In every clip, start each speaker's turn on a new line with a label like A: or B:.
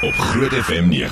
A: op Groot FM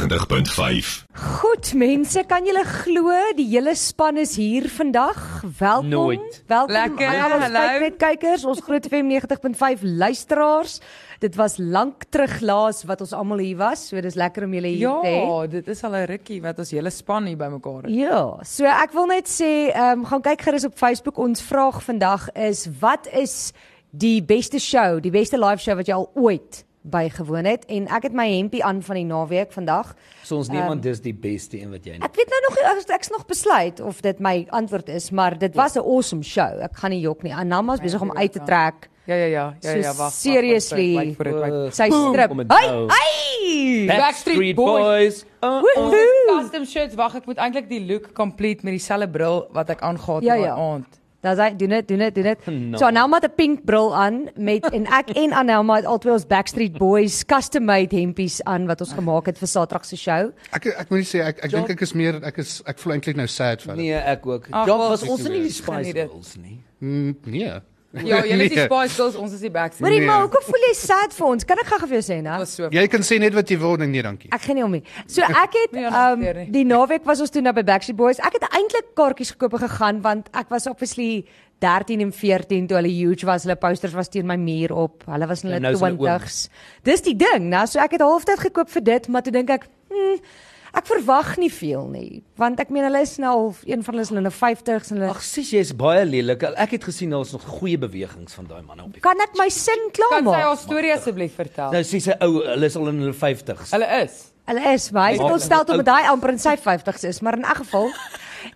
A: 90.5.
B: Goed mense, kan julle glo die hele span is hier vandag. Welkom.
C: Nooit.
B: Welkom
D: Lekker,
B: aan al ons
D: hallo.
B: kyk net kykers, ons Groot FM 90.5 luisteraars. Dit was lank terug laas wat ons almal hier was, so dis lekker om julle hier
D: Ja,
B: te hê.
D: dit is al 'n rukkie wat ons hele span hier bymekaar het.
B: Ja, so ek wil net sê, ehm gaan kyk gerus op Facebook. Ons vraag vandag is wat is die beste show, die beste live show wat jy al ooit bygewoon het? En ek het my hempie aan van die naweek vandag.
C: So ons neem aan dis die beste een wat jy het.
B: Ek weet nou nog nie, ek- ek's nog besluit of dit my antwoord is, maar dit
C: Ja.
B: was 'n awesome show. Ek gaan nie jok nie. Anama's besig om uit te trek.
D: Ja ja ja, ja
B: So
D: ja, wag.
B: seriously.
C: Uh,
B: Sy
C: Boom,
B: strip.
C: kom het
B: Hey,
C: nou.
B: hey!
C: Backstreet Boys.
D: Oh.
C: Uh,
B: Woehoe!
C: uh,
D: Custom shirts, wag, ek moet eintlik die look complete met dieselfde bril wat ek aangetree
B: Ja,
D: het
B: ja.
D: daai aand.
B: Daar's hy, doen dit, doen dit, doen dit.
C: Nou.
B: So Anelma het 'n pink bril aan met en ek en Anelma het albei ons Backstreet Boys custom made hempies aan wat ons gemaak het vir Saterdag se show.
E: Ek ek moet nie sê ek ek dink ek is meer ek is ek voel eintlik nou sad vir dit.
C: nee, ek ook.
D: Ag,
C: Ja,
D: wel,
C: was ons nie die
D: geniet
C: Spice
D: dit.
C: Girls nie.
E: Mm, nee.
D: Ja, julle is die
E: Nee.
D: Spice Girls, ons is die Backstreet.
B: Hoorie
E: Nee.
B: maar, hoekom voel jy sad vir ons? Kan ek gou-gou vir jou sê, nou?
D: Ons so.
E: Jy kan sê net wat jy wil ding nee dankie.
B: Ek gaan nie om nie. So ek het
D: Nee, ons
B: um,
D: steur nie.
B: die naweek was ons toe nou by Backstreet Boys. Ek het eintlik kaartjies gekoop en gegaan want ek was obviously 13 en 14 toe hulle huge was. Hulle posters was teen my muur op. Hulle was in
C: Ja,
B: hulle
C: nou is hulle
B: 20s. Dis die ding, nou so ek het halftyd gekoop vir dit, maar toe dink ek, hmm, ek verwag nie veel nie, want ek meen hulle is nou half een van hulle is in hulle 50s en hulle
C: Ag, sies jy's baie lelik. Ek het gesien daar's nog goeie bewegings van daai manne op die.
B: kan ek my sin klaar
D: Kan sy haar
B: maak?
D: storie asseblief vertel?
C: Nou sies hy ou, hulle is al in hulle 50s.
D: Hulle is.
B: Hulle is, maar hy het
C: Maak
B: ontstel
C: hulle
B: om daai amper in sy 50s is, maar in elk geval.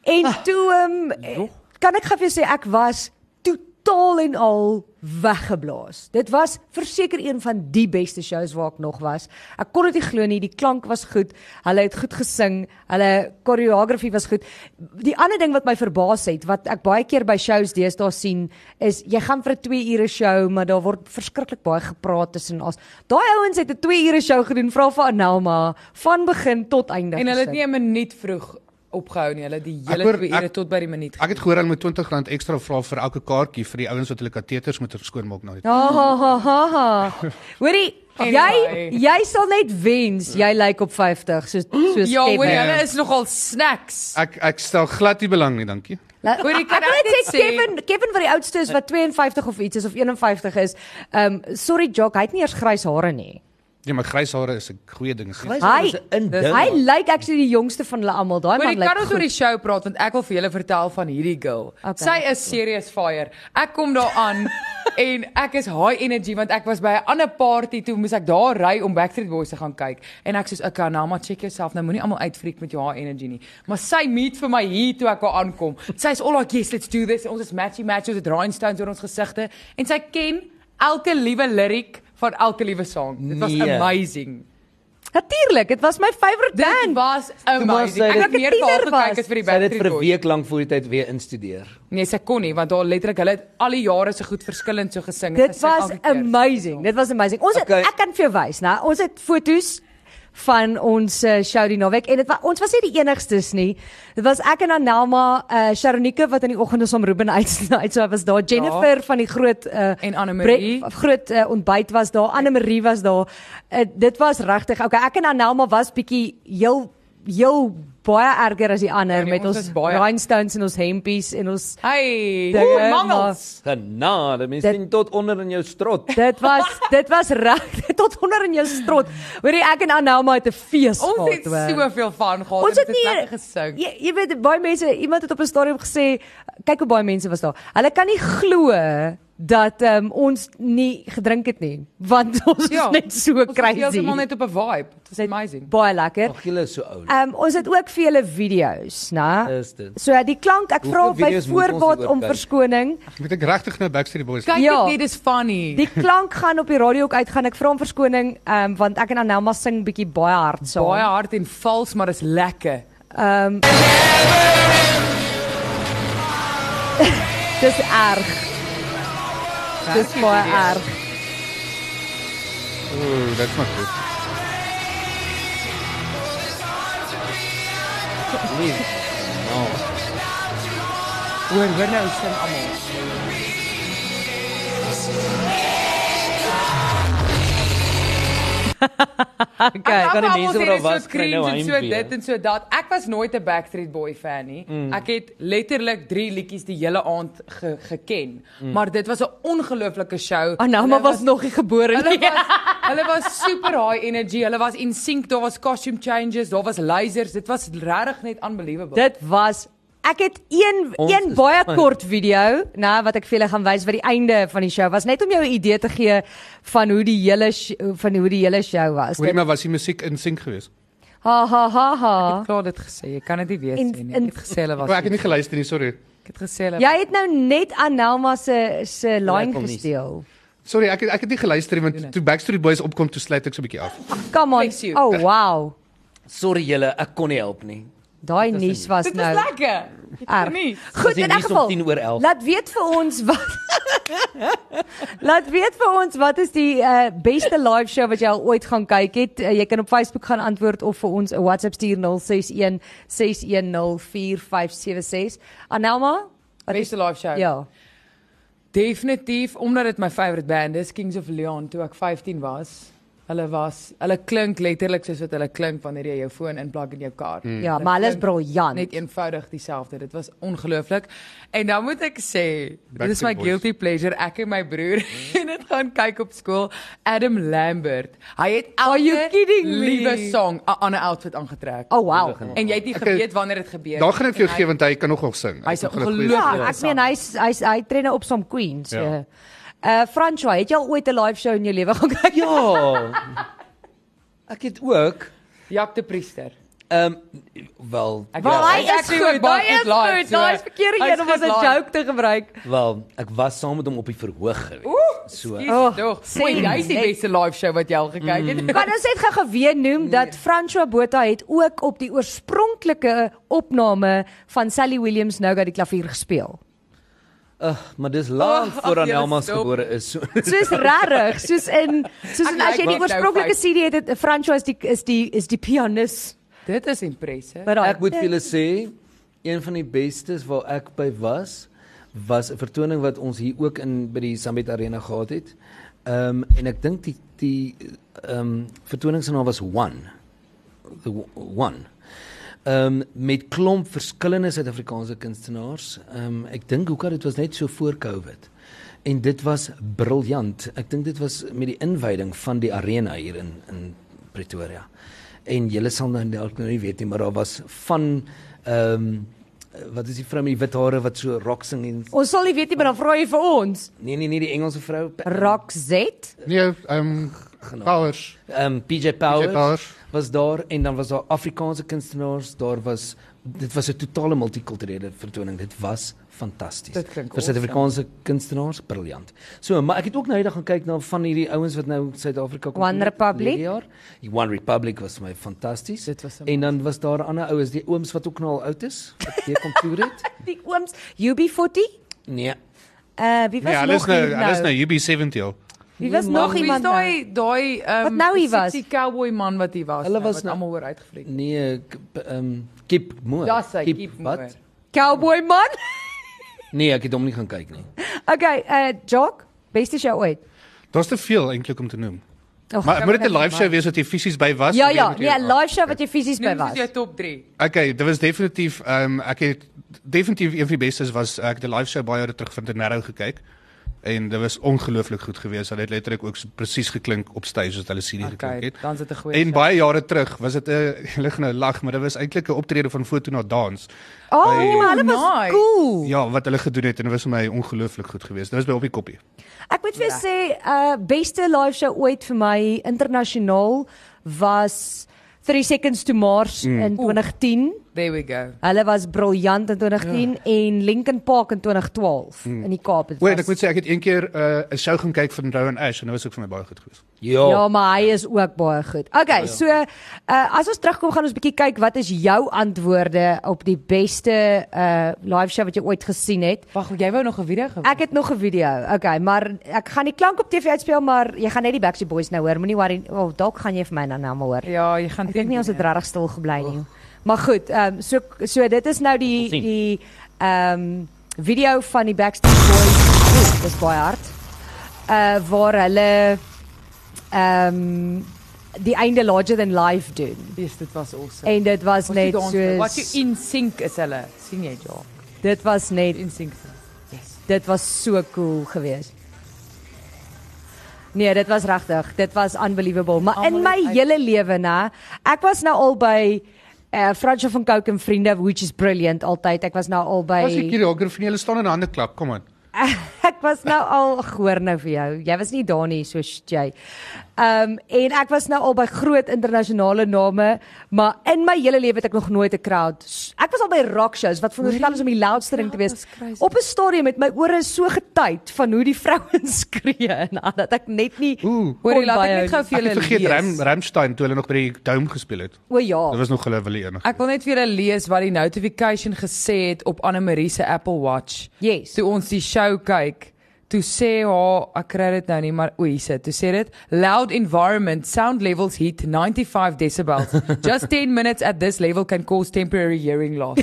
B: En toe ehm um, kan ek gou vir jou sê ek was totaal en al weggeblaas. Dit was verseker een van die beste shows waar ek nog was. Ek kon dit nie glo nie. Die klank was goed. Hulle het goed gesing. Hulle koreografie was goed. Die ander ding wat my verbaas het, wat ek baie keer by shows deesdae sien, is jy gaan vir 'n 2 ure show, maar daar word verskriklik baie gepraat tussen ons. Daai ouens het 'n 2 ure show gedoen, vra vir Anelma, van begin tot einde.
D: En hulle het
B: gesit.
D: nie 'n minuut vroeg opgehou nie. Hulle het die hele
E: hoor-
D: 2 ure
E: ek-
D: tot by die minuut.
E: Ek het gehoor hulle moet R20 ekstra vra vir elke kaartjie vir die ouens wat hulle kateters moet skoonmaak nou.
D: Ja.
B: Ha ha ha ha. Hoorie, jy
D: Anyway.
B: jy sal net wens jy lyk op 50 soos soos
D: Ja, hoor,
B: Kevin.
D: hulle is nogal snacks.
E: Ek ek stel glad nie belang nie dankie.
B: La-
D: Hoorie,
B: ek
D: kan
B: wil
D: ek
B: net
D: net
B: sê
D: sê-
B: Kevin Kevin wat die oudste is wat 52 of iets is of 51 is. Ehm um, sorry Jock, hy het nie eers grys hare nie.
E: Ja, maar grys hare is 'n goeie ding. sien.
B: Hy- Hy
C: hy
B: lyk actually die jongste van hulle almal. Daai
D: Maar
B: man
D: jy kan
B: lyk
D: ons
B: goed.
D: oor die show praat want ek wil vir julle vertel van hierdie girl.
B: Okay.
D: Okay. Sy is serious fire. Ek kom daaraan en ek is high energy want ek was by 'n ander party toe moes ek daar ry om Backstreet Boys te gaan kyk en ek soos okay, nou maar check jouself nou moenie almal uitfreak met jou high energy nie. Maar sy meet vir my hier toe ek daar aankom. Sy's all like yes, let's do this. En ons is matchy match ons het rhinestones oor ons gesigte en sy ken elke liewe liriek van elke liewe song. Dit was
C: Nee.
D: amazing.
B: Natuurlik, dit was my favourite
D: Dit
B: band.
D: was
C: maar sy
D: amazing.
C: dit-
D: Ek het
B: Ek 'n
D: meer daar
B: tiener was.
D: gekyk as vir die
C: Sy het dit
D: Backstreet
C: vir
D: Boys.
C: 'n week lank voor die tyd weer instudeer.
D: Nee, sy kon nie want haar letterlik hulle het al die jare so goed verskillend so gesing.
B: Dit
D: Sy sing
B: was
D: elke keer.
B: amazing. Dit was amazing. Ons het,
C: Okay.
B: ek kan vir jou wys, né? Ons het fotos van ons uh, show die naweek en dit wa, ons was nie die enigstes nie. Dit was ek en Anelma, uh, Sharonike wat in die oggende saam Ruben uit uit so was daar Jennifer van die groot uh,
D: Ja. En Annemarie.
B: bre- groot uh, ontbyt was daar, Anne Marie was daar. Uh, dit was regtig. Okay, ek en Anelma was bietjie heel heel baie erger as die ander
D: Ja, nee,
B: met
D: ons
B: ons,
D: was
B: ons
D: baie-
B: rhinestones en ons hempies en ons
D: Hey,
B: Dinge,
D: oeh, mangels.
C: Genade, mense
B: Dit-
C: sien tot onder in jou strot.
B: Dit was dit was reg tot onder in jou strot. Hoorie ek en Anelma het 'n fees gehad.
D: Ons het
B: hoor.
D: soveel van gehad.
B: Ons het nie
D: lekker gesing.
B: Jy, jy weet baie mense, iemand het op 'n stadium gesê, kyk hoe baie mense was daar. Hulle kan nie glo dat um, ons nie gedrink het nie, want ons ja,
D: Ja,
B: is net so
D: Ons was
B: crazy.
D: heeltemal net Oh. op 'n vibe. Dit was amazing.
B: Baie lekker.
C: Ag, julle is so oud.
B: Ehm um, ons het ook vir julle video's, né?
C: Is dit?
B: So die klank, ek vra
C: Eh,
B: by
C: Hoeveel video's moet ons
B: voorbaat
C: hieroor
B: om
C: kyk?
B: verskoning.
E: Moet ek regtig nou Backstreet Boys?
D: Kyk
B: Ja.
D: ja. dit net is funny.
B: Die klank gaan op die radio ook uitgaan. Ek vra om verskoning, ehm um, want ek en Anelma sing bietjie baie hard saam.
D: Baie hard en vals, maar is lekker.
B: Ehm Dis erg. Dis baie erg.
E: Ooh, dit's maar goed.
C: Nee. Nou.
D: Hoor, hoor nou sing almal.
F: okay, kan die mense wat was kry nou
D: en so dit
F: heen.
D: en so dat. Ek was nooit 'n Backstreet Boy fan nie.
F: Mm.
D: Ek het letterlik 3 liedjies die hele aand ge geken.
F: Mm.
D: Maar dit was 'n ongelooflike show.
B: Ah,
F: Anama
B: nou,
D: Hulle
F: was nog nie gebore
D: Hulle
F: nie.
D: was hulle was super high energy. Hulle was in sync. Daar was costume changes, daar was lasers. Dit was regtig net unbelievable.
B: Dit was ek het een
C: Ons
B: een
C: is
B: baie
C: fun.
B: kort video, nê, wat ek vir julle gaan wys wat die einde van die show was, net om jou 'n idee te gee van hoe die hele sh- van hoe die hele show was.
E: Hoorie
B: Dit-
E: maar was die musiek in sink geweest.
B: Ha ha ha ha.
D: klaar dit gesê. Jy kan dit nie weet
B: En-
D: sê nie.
B: en-
D: Ek het gesê hulle was.
E: Maar ek het nie geluister nie, sorry.
D: Ek het gesê hulle
B: Jy het nou net aan Nelma se se lyn
C: kom nie.
B: gesteel.
E: Sorry, ek het, ek het nie geluister nie want toe Backstreet Boys opkom, toe sluit ek so 'n bietjie af.
B: Come on.
D: Bless you.
B: Oh wow.
C: Sorry julle, ek kon nie help nie.
B: Daai nuus was
D: Dit
B: nou
D: is lekker.
B: erg.
D: nuus.
B: Goed,
C: Dis die
B: in elk
C: nuus om
B: geval.
C: 10 oor 11.
B: Laat weet vir ons wat Laat weet vir ons wat is die uh, beste live show wat jy al ooit gaan kyk het. Uh, jy kan op Facebook gaan antwoord of vir ons 'n WhatsApp stuur 061 6104576. Anelma? Wat is-
D: Beste live show.
B: Ja.
D: Definitief omdat dit my favorite band is, Kings of Leon toe ek 15 was. Hulle was, hulle klink letterlik soos wat hulle klink wanneer jy jou foon inplug in jou kar. Mm.
B: Ja, maar hulle is briljant.
D: Net eenvoudig dieselfde. Dit was ongelooflik. En dan moet ek sê, dit is my
E: Backstreet Boys. Hmm?
D: guilty pleasure. Ek en my broer en dit gaan kyk op skool Adam Lambert. Hy het
B: Are you kidding me?
D: liewe song 'n ander outfit aangetrek.
B: Oh wow.
D: En jy het nie geweet wanneer dit gebeur
E: Daar gaan ek vir jou
D: Ja. En
E: gee want hy kan nog nog sing.
D: Hy's
E: het
D: een
E: nog 'n goeie-
D: ongeloo-
B: Ja, ek meen hy's hy's hy tree nou op som Queen. So. Ja.
E: Ja.
B: Uh Francois, het jy al ooit 'n live show in jou lewe gaan kyk?
C: Ja. Ek het ook
D: Jacques de Priester.
C: ehm wel
D: Ek
B: Wel,
D: ja,
B: hy
D: hy is
B: is
D: actually
B: goed,
D: ook baie
B: daai is
D: goed live,
B: goed.
D: so
B: Daai is verkeerde
D: hy is
B: een om as 'n
D: goed live.
B: joke te gebruik.
C: wel, ek was saam met hom op die verhoog gewees. so
D: Dis
B: Oh,
D: tog.
B: sê
D: Oei, jy's die
B: net. Mm.
D: beste live show wat jy al gekyk het.
B: Kan ons net gou-gou weer noem dat Francois Botha het ook op die oorspronklike opname van Sally Williams nou dat die klavier gespeel.
C: uh, maar dis lank
D: Ag,
C: voor aan
D: julle
C: Elma se
D: stop.
C: gebore is. So
B: Soos regtig, soos in soos in,
D: Ek
B: as jy die
D: like wat nou
B: oorspronklike
D: vyf.
B: CD het, het Francois is die is die is die pianis.
D: Dit is impressive.
B: by daai-
C: Ek moet vir julle sê, een van die bestes waar ek by was, was 'n vertoning wat ons hier ook in by die Sambet Arena gehad het. Ehm um, en ek dink die die ehm um, vertoning se naam was One. The O- One. Ehm um, met klomp verskillende Suid-Afrikaanse kunstenaars. Ehm um, ek dink hoekom dit was net so voor Covid. En dit was briljant. Ek dink dit was met die inwyding van die arena hier in in Pretoria. En julle sal nou dalk nou nie weet nie, maar daar was van ehm um, wat is die vrou met die wit hare wat so rock sing en
B: Ons sal nie weet nie, maar dan vra jy vir ons.
C: nee nee nee die Engelse vrou
B: Roxette?
E: Nee, ehm Powers.
C: ehm um, PJ Powers.
E: PJ Powers.
C: was daar en dan was daar Afrikaanse kunstenaars, daar was dit was 'n totale multikulturele vertoning. Dit was fantasties.
D: Dit klink
C: Vir Suid-Afrikaanse kunstenaars, briljant. So, maar ek het ook nou eendag gaan kyk na van hierdie ouens wat nou Suid-Afrika kom.
B: One
C: toer het verlede
B: Republic?
C: Jaar. Die One Republic was vir my fantasties.
D: Dit was
C: En dan was daar ander ouens, die ooms wat ook nou al oud is, wat hier kom toer het.
B: Die ooms UB40?
C: Nee.
B: Uh wie was
E: Nee, hulle is
B: nog
E: nou
B: hier
E: hulle is nou UB70 al.
B: Wie was nog
D: Wie is
B: iemand? nou?
D: daai daai ehm
B: Wat nou hy was?
D: Die cowboy man wat hy was.
C: Hulle was
D: wat
C: nou-
D: almal oor uitgevreek.
C: Nee, ek- ehm um, Kip Moore.
D: Daar's hy,
C: Kip
D: keep
C: wat?
D: moer.
B: Cowboy man?
C: Nee, ek het hom nie gaan kyk nie.
B: Okay, uh Jock, beste show ooit.
E: Daar's te veel eintlik om te noem.
B: Och,
E: Maar
B: kan
E: moet
B: ek
E: dit 'n
B: net
E: live show
B: maak?
E: wees wat jy fisies by was?
B: Ja
E: Of jy
B: ja,
E: moet
B: nee,
E: hier- Nee,
B: 'n live show wat jy fisies by
D: Noem
B: was.
D: soos jou top 3.
E: Okay, dit was definitief ehm um, ek het definitief een van die bestes was eh, ek het die live show baie jare terug van Tenarrow gekyk en dit was ongelooflik goed geweest. Hulle het letterlik ook so presies geklink op stage soos hulle CD geklink
D: Okay,
E: het.
D: dan sit 'n goeie.
E: En
D: show.
E: baie jare terug was dit 'n hulle gaan nou lag, maar dit was eintlik 'n optrede van foto na dans.
B: Oh,
E: By-
B: maar hulle was
D: Nice.
B: cool.
E: Ja, wat hulle gedoen het en dit was vir my ongelooflik goed geweest. Dit was by op die koppie.
B: Ek moet
E: Ja.
B: vir jou sê, uh beste live show ooit vir my internasionaal was 3 Seconds to Mars
E: Mm.
B: in 2010.
D: There we go.
B: Hulle was briljant in
E: Ja.
B: 2010 en Linkin Park in 2012 in die Kaap. Het was-
E: Oor Mm. ek moet sê ek het een keer 'n uh, show gaan kyk van Rowan Ash en dit was ook vir my baie goed geweest.
C: Ja.
B: Ja, maar hy is ook baie goed.
E: Ja,
B: Okay, so uh, as ons terugkom gaan ons bietjie kyk wat is jou antwoorde op die beste uh live show wat jy ooit gesien het.
D: Wag, jy wou nog 'n video gewys.
B: Ek het nog 'n video. Okay, maar ek gaan die klank op TV uitspeel, maar jy gaan net die Backstreet Boys nou hoor. Moenie worry. Of oh, dalk gaan jy vir my dan nou maar hoor.
D: Ja, jy gaan
B: Ek dink nie ons het
D: teen-
B: regtig stil gebly nie. Maar goed, ehm um, so so dit is nou die
C: sien.
B: die ehm um, video van die Backstreet Boys. Oeh, Dis baie hard. Uh waar hulle Eh, ehm um, die einde larger than life doen.
D: Yes, dit was awesome.
B: En dit was
D: Ons het
B: net
D: dans- Wat jy
B: so
D: in sync is hulle. sien jy ja.
B: dit was net
D: In sync. Yes.
B: Dit was so cool geweest. Nee, dit was regtig. Dit was unbelievable. Maar in my
D: Almal het uit-
B: hele lewe, nè, ek was nou al by eh Fransjo van Cooke en vriende, which is brilliant altyd. Ek was nou al by
E: Was ek hier hoor van julle staan in hande klap, kom aan.
B: Ek was nou al gehoor nou vir jou. Jy was nie daar nie, so sh- jy. Ehm um, en ek was nou al by groot internasionale name, maar in my hele lewe het ek nog nooit 'n crowd. s- Ek was al by rock shows wat veronderstel is om die loudstering te wees.
D: crowd was crazy.
B: Op 'n stadium met my ore so getyd van hoe die vrouens skree en al dat ek net nie
E: Ooh.
D: Hoor jy
B: kon
D: Oh, laat ek
B: byhou
D: net gou
B: nie.
D: vir
E: Ek
D: julle
E: het vergeet
D: lees.
E: Ram, Ramstein toe hulle nog by die Dome gespeel het.
B: O ja.
E: Dit was nog hulle wil enig.
D: Ek wil net vir julle lees wat die notification gesê het op Anne Marie se Apple Watch.
B: Yes.
D: Toe ons die show kyk, toe sê haar, ek kry dit nou nie, maar o, hier sit. Toe sê dit loud environment sound levels hit 95 decibels. Just 10 minutes at this level can cause temporary hearing loss.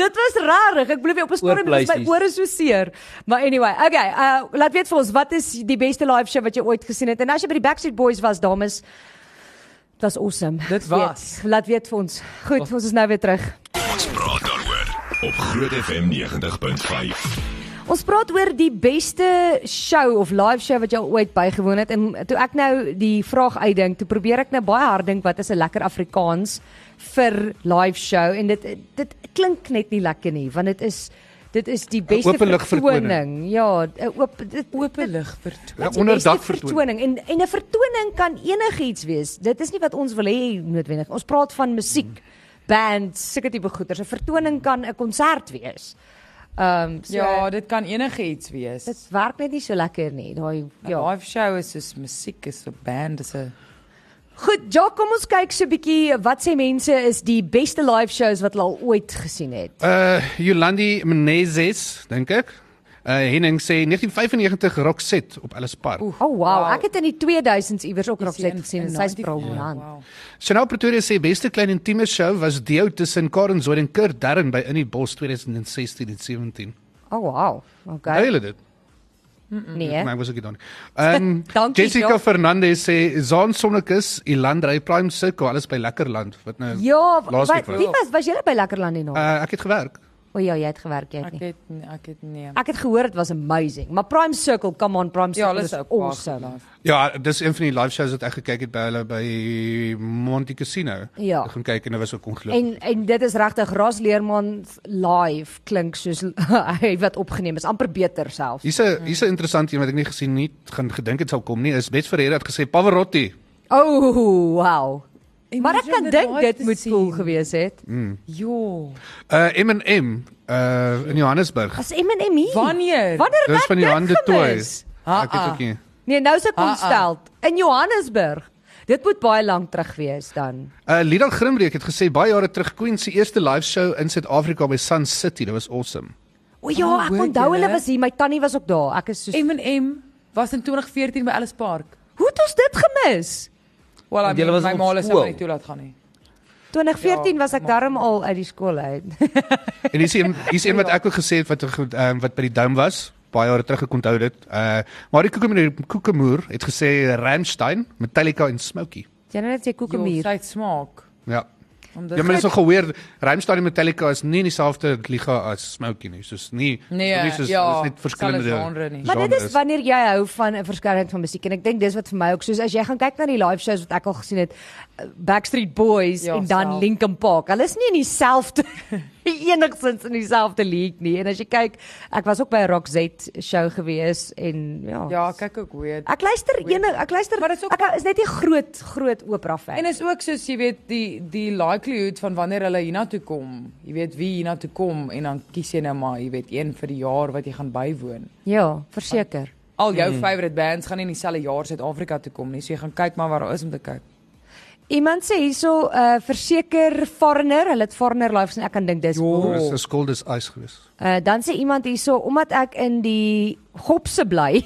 B: Dit was rarig. Ek belowe jy, op 'n stadium was my
C: Oorpleisies.
B: ore so seer. Maar anyway, okay, uh laat weet vir ons wat is die beste live show wat jy ooit gesien het? En as jy by die Backstreet Boys was, dames, dit was awesome.
D: Dit was.
B: Weet, laat weet vir ons. Goed, ons is nou weer terug.
A: Ons praat daaroor op Groot FM 90.5.
B: Ons praat oor die beste show of live show wat jy al ooit bygewoon het en toe ek nou die vraag uitdink, toe probeer ek nou baie hard dink wat is 'n lekker Afrikaans vir live show en dit dit klink net nie lekker nie want dit is dit is die beste
E: openlig vertoning.
B: vertoning. Ja, 'n oop dit
D: Oop lig vertoon.
E: Ja,
B: Wat is die
E: onderdak
B: beste
E: vertoon.
B: vertoning en en 'n vertoning kan enigiets wees. Dit is nie wat ons wil hê noodwendig. Ons praat van musiek, bands, sulke tipe goeders. 'n Vertoning kan 'n konsert wees. Ehm um, so,
D: Ja, dit kan enigiets wees.
B: dit werk net nie so lekker nie. Daai
D: Ja.
B: ja.
D: Live show is soos musiek is 'n band is 'n
B: Goed, ja, kom ons kyk so 'n bietjie wat sê mense is die beste live shows wat hulle al ooit gesien het.
E: Uh Jolandi Menezes, dink ek. Uh Henning sê 1995 Rockset op Ellis Park.
D: Oef.
B: O oh, wow,
D: Wow.
B: wow, ek het in die 2000s iewers ook
D: Is die
B: Rockset
D: Ja. in-
B: gesien.
D: in
B: Sy's
D: 95?
B: briljant.
D: Wow.
E: Chanel nou Pretoria sê beste klein intieme show was Dio tussen Karen Zoid en Kurt Darren by In die Bos 2016 en 17.
B: O oh, wow.
E: Hou
B: Okay.
E: julle dit?
B: Nee.
E: Maar ek was ook nie dan. Ehm
B: Dankie,
E: Jessica
B: Job.
E: Fernandez sê Zaan Sonnekus, Elandrey Prime Circle, alles by Lekkerland wat nou
B: Ja,
E: laas
B: wat,
E: week
B: wie
E: was.
B: was was jy by Lekkerland nie nou?
E: Uh ek het gewerk.
B: O ja, jy het gewerk, jy het
D: Ek
B: nie.
D: het ek het nee.
B: Ek het gehoor dit was amazing, maar Prime Circle, come on Prime Circle
D: Ja, hulle
B: is
D: is ook
B: awesome.
D: awesome.
E: Ja, dis een van die live shows wat ek gekyk het by hulle by Monte Casino.
B: Ja.
E: Ek gaan kyk en dit was ook ongelooflik.
B: En en dit is regtig Ras Leerman live klink soos hy wat opgeneem is, amper beter selfs.
E: Hier's 'n hier's 'n interessante een wat ek nie gesien nie, gaan gedink dit sou kom nie. Is Bets Ferreira het gesê Pavarotti.
B: Oh, wow. Maar ek
D: Imagine
B: kan
D: dit
B: dink
D: live
B: dit
D: te
B: moet
D: sien. Ja.
B: cool gewees het.
D: Jo.
E: Uh M&M uh in Johannesburg.
B: As M&M hier.
D: Wanneer?
B: Wanneer het
E: Dis
B: ek
E: van die
B: dit
E: hande toe.
B: gemis?
E: Ek het
D: Ha-ha.
E: ook nie.
B: Nee, nou se
D: Ah, ah.
B: konsteld in Johannesburg. Dit moet baie lank terug wees dan.
E: Uh Lida Grimreek het gesê baie jare terug Queen se eerste live show in Suid-Afrika by Sun City. Dit was awesome.
B: O ja,
D: Oh,
B: ek
D: hoor
B: onthou hulle
D: julle?
B: was hier, my tannie was ook daar. Ek is so
D: M&M was in 2014 by Ellis Park.
B: Hoe het ons dit gemis?
D: Wel,
C: Want julle was
D: my
C: op
D: ma het
C: skool.
D: sommer nie toelaat gaan nie.
B: 2014
D: Ja,
B: was ek
D: maar-
B: darm al uit die skool uit.
E: En hier's een hier's een wat ek ook gesê het wat um, wat by die Dome was baie jare terug ek onthou dit. Uh maar die Kokemoer Kokemoer het gesê Ramstein, Metallica en Smokey.
B: Jy nou net jy
D: Jo,
B: koekemuur.
D: sy het smaak.
E: Ja.
D: Omdat
E: Ja, maar dis nog gehoor Ramstein en Metallica is nie in dieselfde liga as Smokey nie. Soos nie
D: Nee,
E: nie soos,
D: ja,
E: dis net verskillende
D: selfs genre nie.
B: Maar dit is
E: genres.
B: wanneer jy hou van 'n verskeidenheid van musiek en ek dink dis wat vir my ook soos as jy gaan kyk na die live shows wat ek al gesien het, eh, Backstreet Boys
D: Ja,
B: en dan
D: self.
B: Linkin Park. Hulle is nie in dieselfde enigstens in dieselfde league nie. En as jy kyk, ek was ook by 'n Rock Z show gewees en ja.
D: Ja, kyk ook weird.
B: Ek luister enig, ek luister,
D: Maar dit is ook-
B: ek hou- is net 'n groot groot opera fan.
D: En is ook soos jy weet die die likelihood van wanneer hulle hiernatoe kom. Jy weet wie hiernatoe kom en dan kies jy nou maar, jy weet, een vir die jaar wat jy gaan bywoon.
B: ja, verseker.
D: Al jou mm. favorite bands gaan nie in dieselfde jaar Suid-Afrika toe kom nie, so jy gaan kyk maar waar daar is om te kyk.
B: Iemand sê hierso, uh verseker Foreigner, hulle het Foreigner live sien, ek kan dink dis cool.
E: Dis 'n skool dis ys gewees.
B: Uh dan sê iemand hierso omdat ek in die Gopse bly,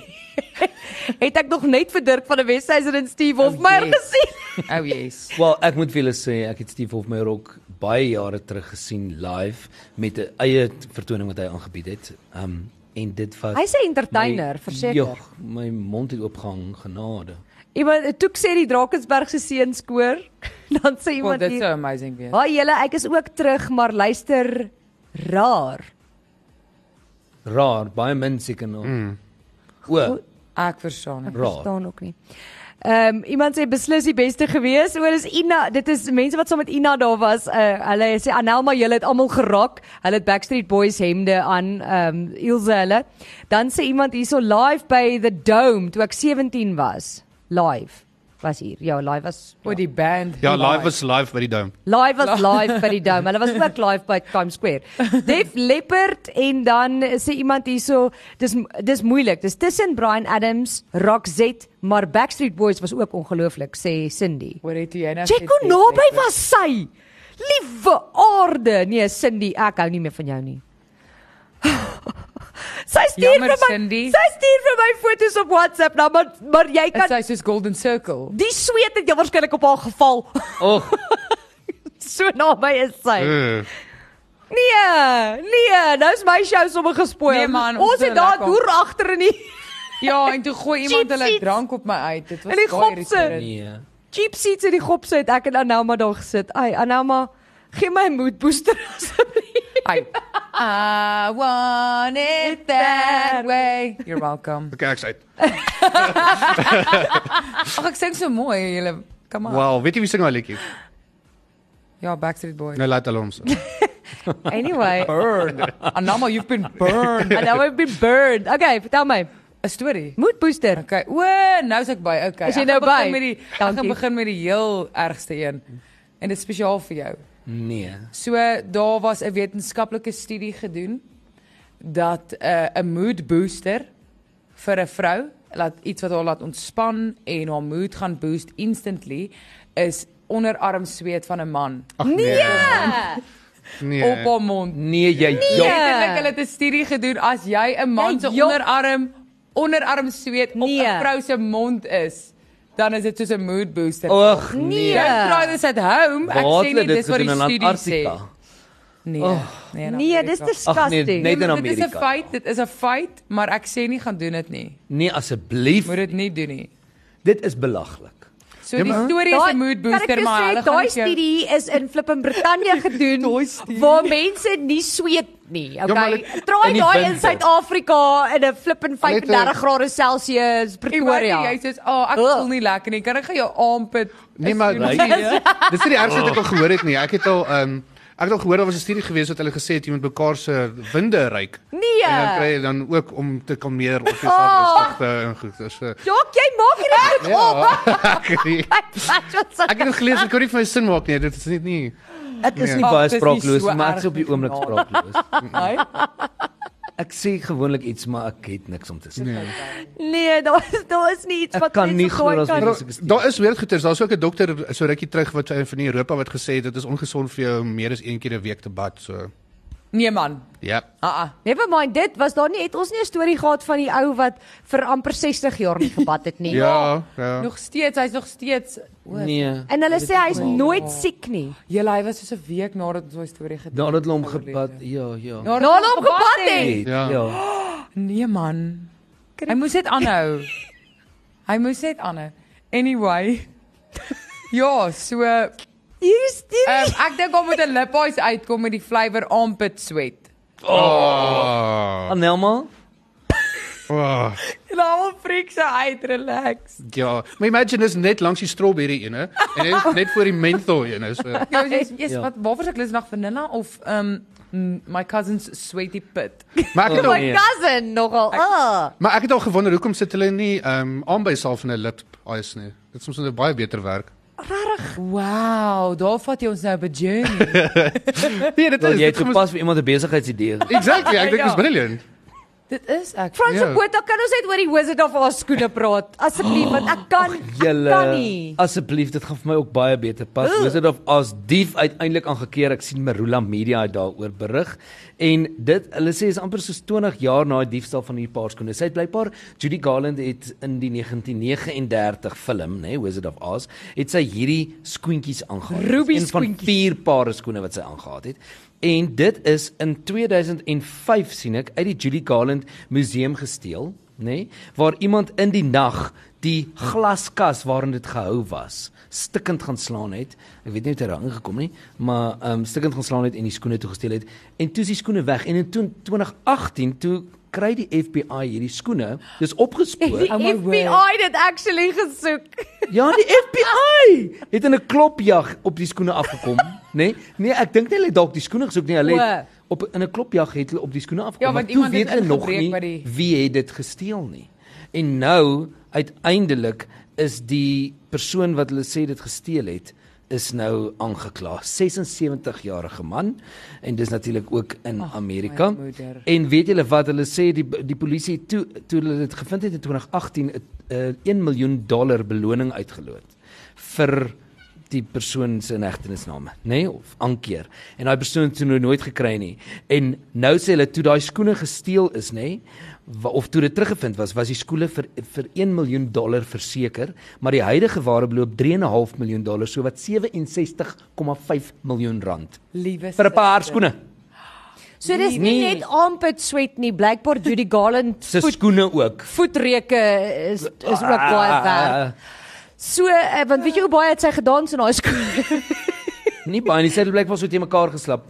B: het ek nog net vir Dirk van die Weshuiser en Steve Hofmeyer
D: Oh, yes.
B: gesien.
D: Oh yes.
C: Wel, ek moet vir julle sê ek het Steve Hofmeyer ook baie jare terug gesien live met 'n eie vertoning wat hy aangebied het. Um en dit was
B: Hy's 'n entertainer,
D: Nee,
B: verseker.
C: Jog, my mond het oopgehang genade.
B: Iemand toe sê die Drakensberg se seuns koor, dan sê
D: Wel,
B: iemand
D: dit
B: hier,
D: sou amazing wees.
B: "Haai julle, ek is ook terug, maar luister raar."
C: Raar, baie min seker nog. Mm. O,
D: Ek verstaan. nie.
C: raar.
B: Verstaan ook nie. Ehm iemand sê beslis die beste gewees. O, dis Ina, dit is mense wat saam met Ina daar was. Uh, hulle sê Anelma, julle het almal geraak. Hulle het Backstreet Boys hemde aan. Ehm um, Ilse hulle. Dan sê iemand hierso live by the Dome toe ek 17 was. Live was hier. Ja, live was
D: O, die band.
E: Ja, live was live by die Dome.
B: Live was live by die Dome. Hulle was ook live by Times Square. Def Leppard en dan eh, sê iemand hierso, dis dis moeilik. Dis tussen Brian Adams, Roxette, maar Backstreet Boys was ook ongelooflik, sê Cindy.
D: Hoor het jy nou?
B: Check hoe naby was sy. Liewe aarde. Nee, Cindy, ek hou nie meer van jou nie. sy stuur
D: Jammer,
B: vir my
D: Cindy.
B: Sy stuur vir my foto's op WhatsApp, nou, maar maar jy
D: Dit
B: kan
D: is soos Golden Circle.
B: die sweet het jou waarskynlik op haar geval.
C: Och,
B: so naby is sy.
E: Uh,
B: Nee, nee, nou is my show sommer gespoil.
D: Nee, man, ons
B: ons het
D: doen
B: daar
D: lekker.
B: deur agter in die
D: Ja, en toe gooi iemand
B: Cheap
D: hulle
B: seats.
D: drank op my uit. Dit was
B: In die
D: baie
B: gopse.
D: irriterend.
C: nee.
B: cheap seats in die gopse het ek en Anelma daar gesit. Ai, Anelma, gee my 'n mood booster asseblief.
D: Ai. I want it that way. You're welcome.
E: okay, ek's uit.
D: Ag ek sing so mooi julle. Come on.
E: Wow, weet jy wie sing daai liedjie?
D: Ja, Backstreet Boys.
E: Nou laat hulle ons.
B: Anyway,
D: Burn. Anama, you've been burned.
B: Anelma het been burned. Okay, vertel my.
D: 'n Storie.
B: Mood booster.
D: Okay. O, nou is ek by. Okay.
B: Is jy
D: Ek
B: nou
D: gaan
B: by?
D: begin Met die, ek
B: Dankie.
D: gaan begin met die heel ergste een. En dit is spesiaal vir jou.
C: Nee.
D: So daar was 'n wetenskaplike studie gedoen dat 'n 'n mood booster vir 'n vrou laat iets wat haar laat ontspan en haar mood gaan boost instantly is onderarm sweet van 'n man
E: Ag nee.
B: Ja.
E: Nee.
D: op haar mond.
C: Nee, jy jog.
D: Letterlik hulle het 'n studie gedoen as jy 'n man se
B: Ja, jong.
D: onderarm onderarm sweet op 'n
B: Nee.
D: vrou se mond is, dan is dit soos 'n mood booster.
C: Och,
B: Nee.
C: nee.
D: Don't try this at home. Ek
C: Waar
D: sê
C: het
D: nie
C: hulle
D: dis wat die
C: gedoen in Oh.
D: studie sê.
C: Antarktika?
D: Nee. nee, in
B: Nee, dis
D: Amerika.
C: Ag nee,
B: disgusting.
C: net in
D: Dit is 'n
C: Amerika.
D: feit, dit is 'n feit, maar ek sê nie gaan doen dit nie.
C: Nee, asseblief.
D: Moet dit nie doen nie.
C: Dit is belaglik.
D: So
E: Ja,
D: die
E: maar-
D: storie is 'n mood
B: kan ek
D: booster,
B: jou
D: maar
B: sê,
D: hulle gaan
B: daai
D: nie vir jou-
B: studie is in Flippin Brittanje gedoen waar mense nie sweet nie. Okay,
E: Ja, maar
B: try
C: in die
B: daai in
C: winter.
B: Suid-Afrika in 'n Flippin
E: Net
B: 35
E: 'n-
B: grade Celsius
D: Jy weet
B: Pretoria.
D: jy sê, "O, ek
B: Ugh.
D: voel nie lekker nie. Kan ek gou jou armpit?"
E: Nee, maar
D: is-
E: dis nie die ergste wat ek al gehoor het nie. Ek het al ehm ek het al gehoor daar was 'n studie gewees wat hulle gesê het jy moet mekaar se winde ryk.
B: Nee.
E: En dan kry jy dan ook om te kalmeer of jy saamstigte en goed. Dis uh,
B: Jok, jy maak hierdie goed op.
E: ek
B: Ek vat wat se.
E: het dit gelees, Ja. ek kon nie vir my sin maak nie. Dit is net nie.
C: Ek is nie
D: Ag,
C: baie
D: dis nie
C: spraakloos
D: so
C: nie, maar ek is
D: erg
C: op die
D: nie,
C: oomblik
D: genade.
C: spraakloos.
D: Hy?
C: Ek sê gewoonlik iets, maar ek het niks om te sê. Nee.
B: Nee, daar is daar is nie iets
C: Ek
B: wat
C: kan nie
B: mense
C: glo
B: daai
C: dat
B: kan-
C: mense-
E: Maar
C: is 'n studie.
E: Daar is weer goeters. Daar's ook 'n dokter so rukkie terug wat eh, van Europa wat gesê het dit is ongesond vir jou om meer as een keer 'n week te bad. So
D: Nee man.
E: ja.
D: Ah ah.
B: Never mind, dit was daar nie het ons nie 'n storie gehad van die ou wat vir amper 60 jaar nie gebad het nie.
E: Ja, ja.
D: Nog steeds, hy's nog steeds.
C: nee.
B: En hulle sê hy's nooit siek nie.
D: Jy lê was soos 'n week nadat ons daai storie gedoen
C: Daar het hulle hom gepat. Ja, ja.
D: Nadat
B: Nadat
D: ons
B: hom gebad het.
C: Het,
E: Ja.
C: Ja.
D: Nee man. Hy moes dit aanhou. Hy moes dit aanhou. Anyway. Ja, so ehm
B: Hier is die
D: ek dink hom moet 'n lippies uitkom met die flavour armpit sweat.
E: Oh.
C: Anelma,
E: oh.
D: Laat hom freak se uit, relax.
E: Ja, maar imagine is net langs die strawberry een hè en net, net voor die menthol een is. So.
D: Ja, jy's jy's
C: Ja.
D: wat waarvoor ek lus nag vanilla of ehm um, my cousin's sweaty pit.
E: Maar ek het al,
B: Oh my cousin nogal. Ah.
E: maar ek het al gewonder hoekom sit hulle nie ehm um, aanbysalf in 'n lip ice nie. Dit is soms net baie beter werk.
D: Wow, daar vat jy ons nou op 'n journey.
E: Nee, dit
C: wil
E: is
C: jy
E: dit kom ons-
C: toepas vir iemand 'n besigheidsidee?
E: Exactly, ek dink
D: Ja.
E: dis brilliant.
D: dit is ek.
B: Frans
E: Ja.
B: Kota, kan ons net oor die Wizard of Oz skoene praat? Asseblief, want ek kan ek kan nie.
C: Julle asseblief, dit gaan vir my ook baie beter pas.
B: Ugh.
C: Wizard of Oz dief uiteindelik aangekeer. Ek sien Marula Media het daaroor berig En dit hulle sê is amper soos 20 jaar na die diefstal van hierdie paar skoene. Sy het blykbaar Judy Garland het in die 1939 film, nê, nee, Wizard of Oz, het sy hierdie skoentjies aangetree.
D: Ruby
C: een van
D: skoentjies.
C: vier pare skoene wat sy aangetree het. En dit is in 2005 sien ek uit die Judy Garland museum gesteel, nê, nee, waar iemand in die nag die glaskas waarin dit gehou was, stikkend gaan slaan het. Ek weet nie hoe dit daar ingekom nie, maar ehm um, stikkend gaan slaan het en die skoene toe gesteel het. En toe is die skoene weg en in toe- 2018 toe kry die FBI hierdie skoene. Dis opgespoor.
B: Die
D: Oh my word.
B: FBI het dit actually gesoek.
C: Ja, die FBI het in 'n klopjag op die skoene afgekom, nê? Nee? nee, ek dink nie hulle het dalk die skoene gesoek nie, hulle het op in 'n klopjag het hulle op die skoene afgekom.
D: Ja, want
C: maar toe
D: iemand het
C: weet hulle nog
D: ingebreek
C: nie
D: by die-
C: wie het dit gesteel nie. En nou uiteindelik is die persoon wat hulle sê dit gesteel het is nou aangekla. 76 jarige man en dis natuurlik ook in Ach, Amerika.
D: my moeder.
C: En weet julle wat hulle sê die die polisie toe toe hulle dit gevind het in 2018 'n uh, 1 miljoen dollar beloning uitgeloot vir die persoon se inhegtenisname, nê, nee, of aankeer. En daai persoon het toe nou nooit gekry nie. En nou sê hulle toe daai skoene gesteel is, nê, nee, wa- of toe dit teruggevind was, was die skoene vir vir 1 miljoen dollar verseker, maar die huidige waarde beloop 3.5 miljoen dollar, so wat 67,5 miljoen rand
D: Liewe
C: vir 'n paar skoene.
B: So dis nie
C: Nee.
B: net armpit sweet nie, blykbaar Judy Garland
C: Se
B: voet
C: skoene ook.
B: voetreke is is ook
C: Ah,
B: baie werd. So eh, want weet jy hoe baie het sy gedans in haar skool?
C: Nie baie nie, sy het blykbaar so te mekaar geslap.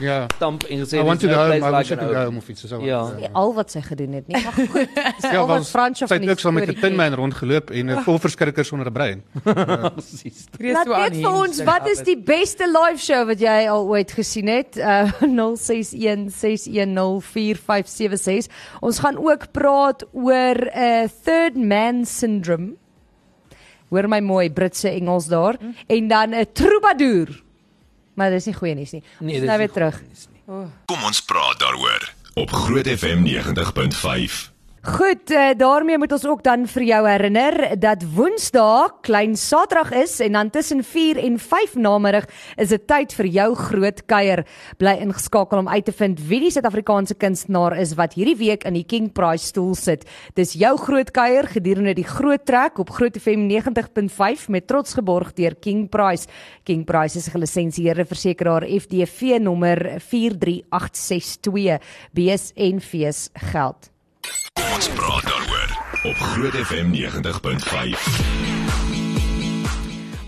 E: Ja.
C: Getamp en gesê
E: I want to
C: "There's
E: go,
C: no nou place
E: home, I want
C: like
E: to
C: an
E: go
C: old."
E: home of iets so.
C: Ja.
B: Al wat sy gedoen het, nie maar Ja, goed. dis Al
E: Ja, want
B: wat Fransjo
E: sy het ook saam met 'n pinman rondgeloop en 'n vol verskrikker sonder 'n brein.
C: Presies.
D: Krees
B: Laat
D: so aan
B: weet vir ons
D: hier.
B: wat is die beste live show wat jy al ooit gesien het? Uh 0616104576. Ons gaan ook praat oor 'n uh, third man syndrome. Hoor my mooi Britse Engels daar en dan 'n uh, troubadour. Maar dis nie goeie nuus nie. Ons
C: Nee,
B: is
C: dis
B: nou
C: nie
B: weer terug.
A: Kom ons praat daaroor op Groot FM 90.5.
B: Goed, eh, daarmee moet ons ook dan vir jou herinner dat Woensdae klein Saterdag is en dan tussen 4 en 5 namiddag is dit tyd vir jou groot kuier. Bly ingeskakel om uit te vind wie die Suid-Afrikaanse kunstenaar is wat hierdie week in die King Prize stoel sit. Dis jou groot kuier gedurende die groot trek op Groot FM 90.5 met trots geborg deur King Prize. King Prize is 'n gelisensieerde versekeraar FDV nommer 43862 BSNV's geld.
A: Kom ons praat daaroor op Groot FM 90.5.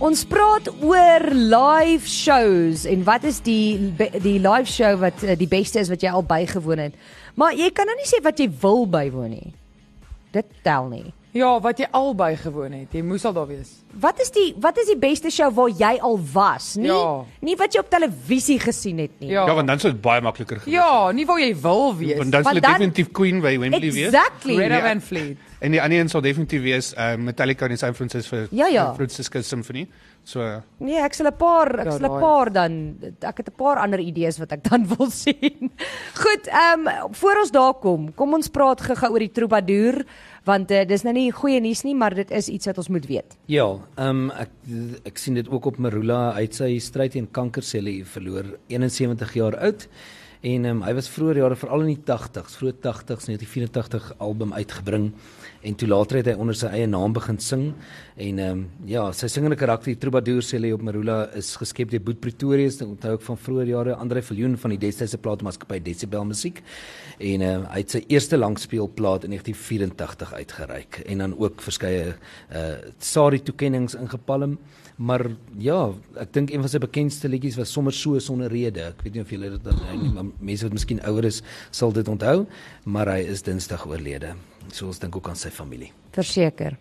B: Ons praat oor live shows en wat is die die live show wat eh, die beste is wat jy al bygewoon het. Maar jy kan nou nie sê wat jy wil bywoon nie. Dit tel nie.
D: Ja, wat jy albei gewoon het. Jy moes al daar wees.
B: Wat is die wat is die beste show waar jy al was? Nie
D: Ja.
B: nie wat jy op televisie gesien het nie.
D: Ja.
E: Ja, want dan sou dit baie makliker gewees.
D: Ja, nie waar jy wil wees.
E: Want dan sou
B: Want
E: dit
B: dan-
E: definitief Queen by Wembley wees.
B: Exactly.
D: Greta
E: Ja.
D: Van Fleet.
E: En die ander een sal definitief wees uh, Metallica en die San Francisco
B: Ja, ja.
E: Francisco Symphony. So uh,
B: Nee, ek sal 'n paar, ek
D: Ja,
B: sal 'n
D: daai.
B: paar dan ek het 'n paar ander idees wat ek dan wil sien. Goed, ehm voor ons daar kom, kom ons praat gou-gou oor die troubadour want uh, dis nou nie goeie nuus nie, maar dit is iets wat ons moet weet.
C: Ja, ehm um, ek ek sien dit ook op Marula, hy het sy stryd teen kanker sê hy verloor 71 jaar oud. En um, hy was vroeër jare veral in die 80s, vroeg 80s 1984 album uitgebring en toe later het hy onder sy eie naam begin sing en ehm um, ja, sy singende karakter die Troubadour sê hy op Marula is geskep deur Boet Pretorius, ek onthou ek van vroeër jare Andre Viljoen van die destydse plaatmaatskappy Decibel Musiek en uh, hy het sy eerste langspeelplaat in 1984 uitgereik en dan ook verskeie uh SARI toekenninge ingepalm maar ja ek dink een van sy bekendste liedjies was sommer so sonder rede ek weet nie of julle dit onthou nie maar mense wat miskien ouer is sal dit onthou maar hy is dinsdag oorlede so ons dink ook aan sy familie
B: Verseker.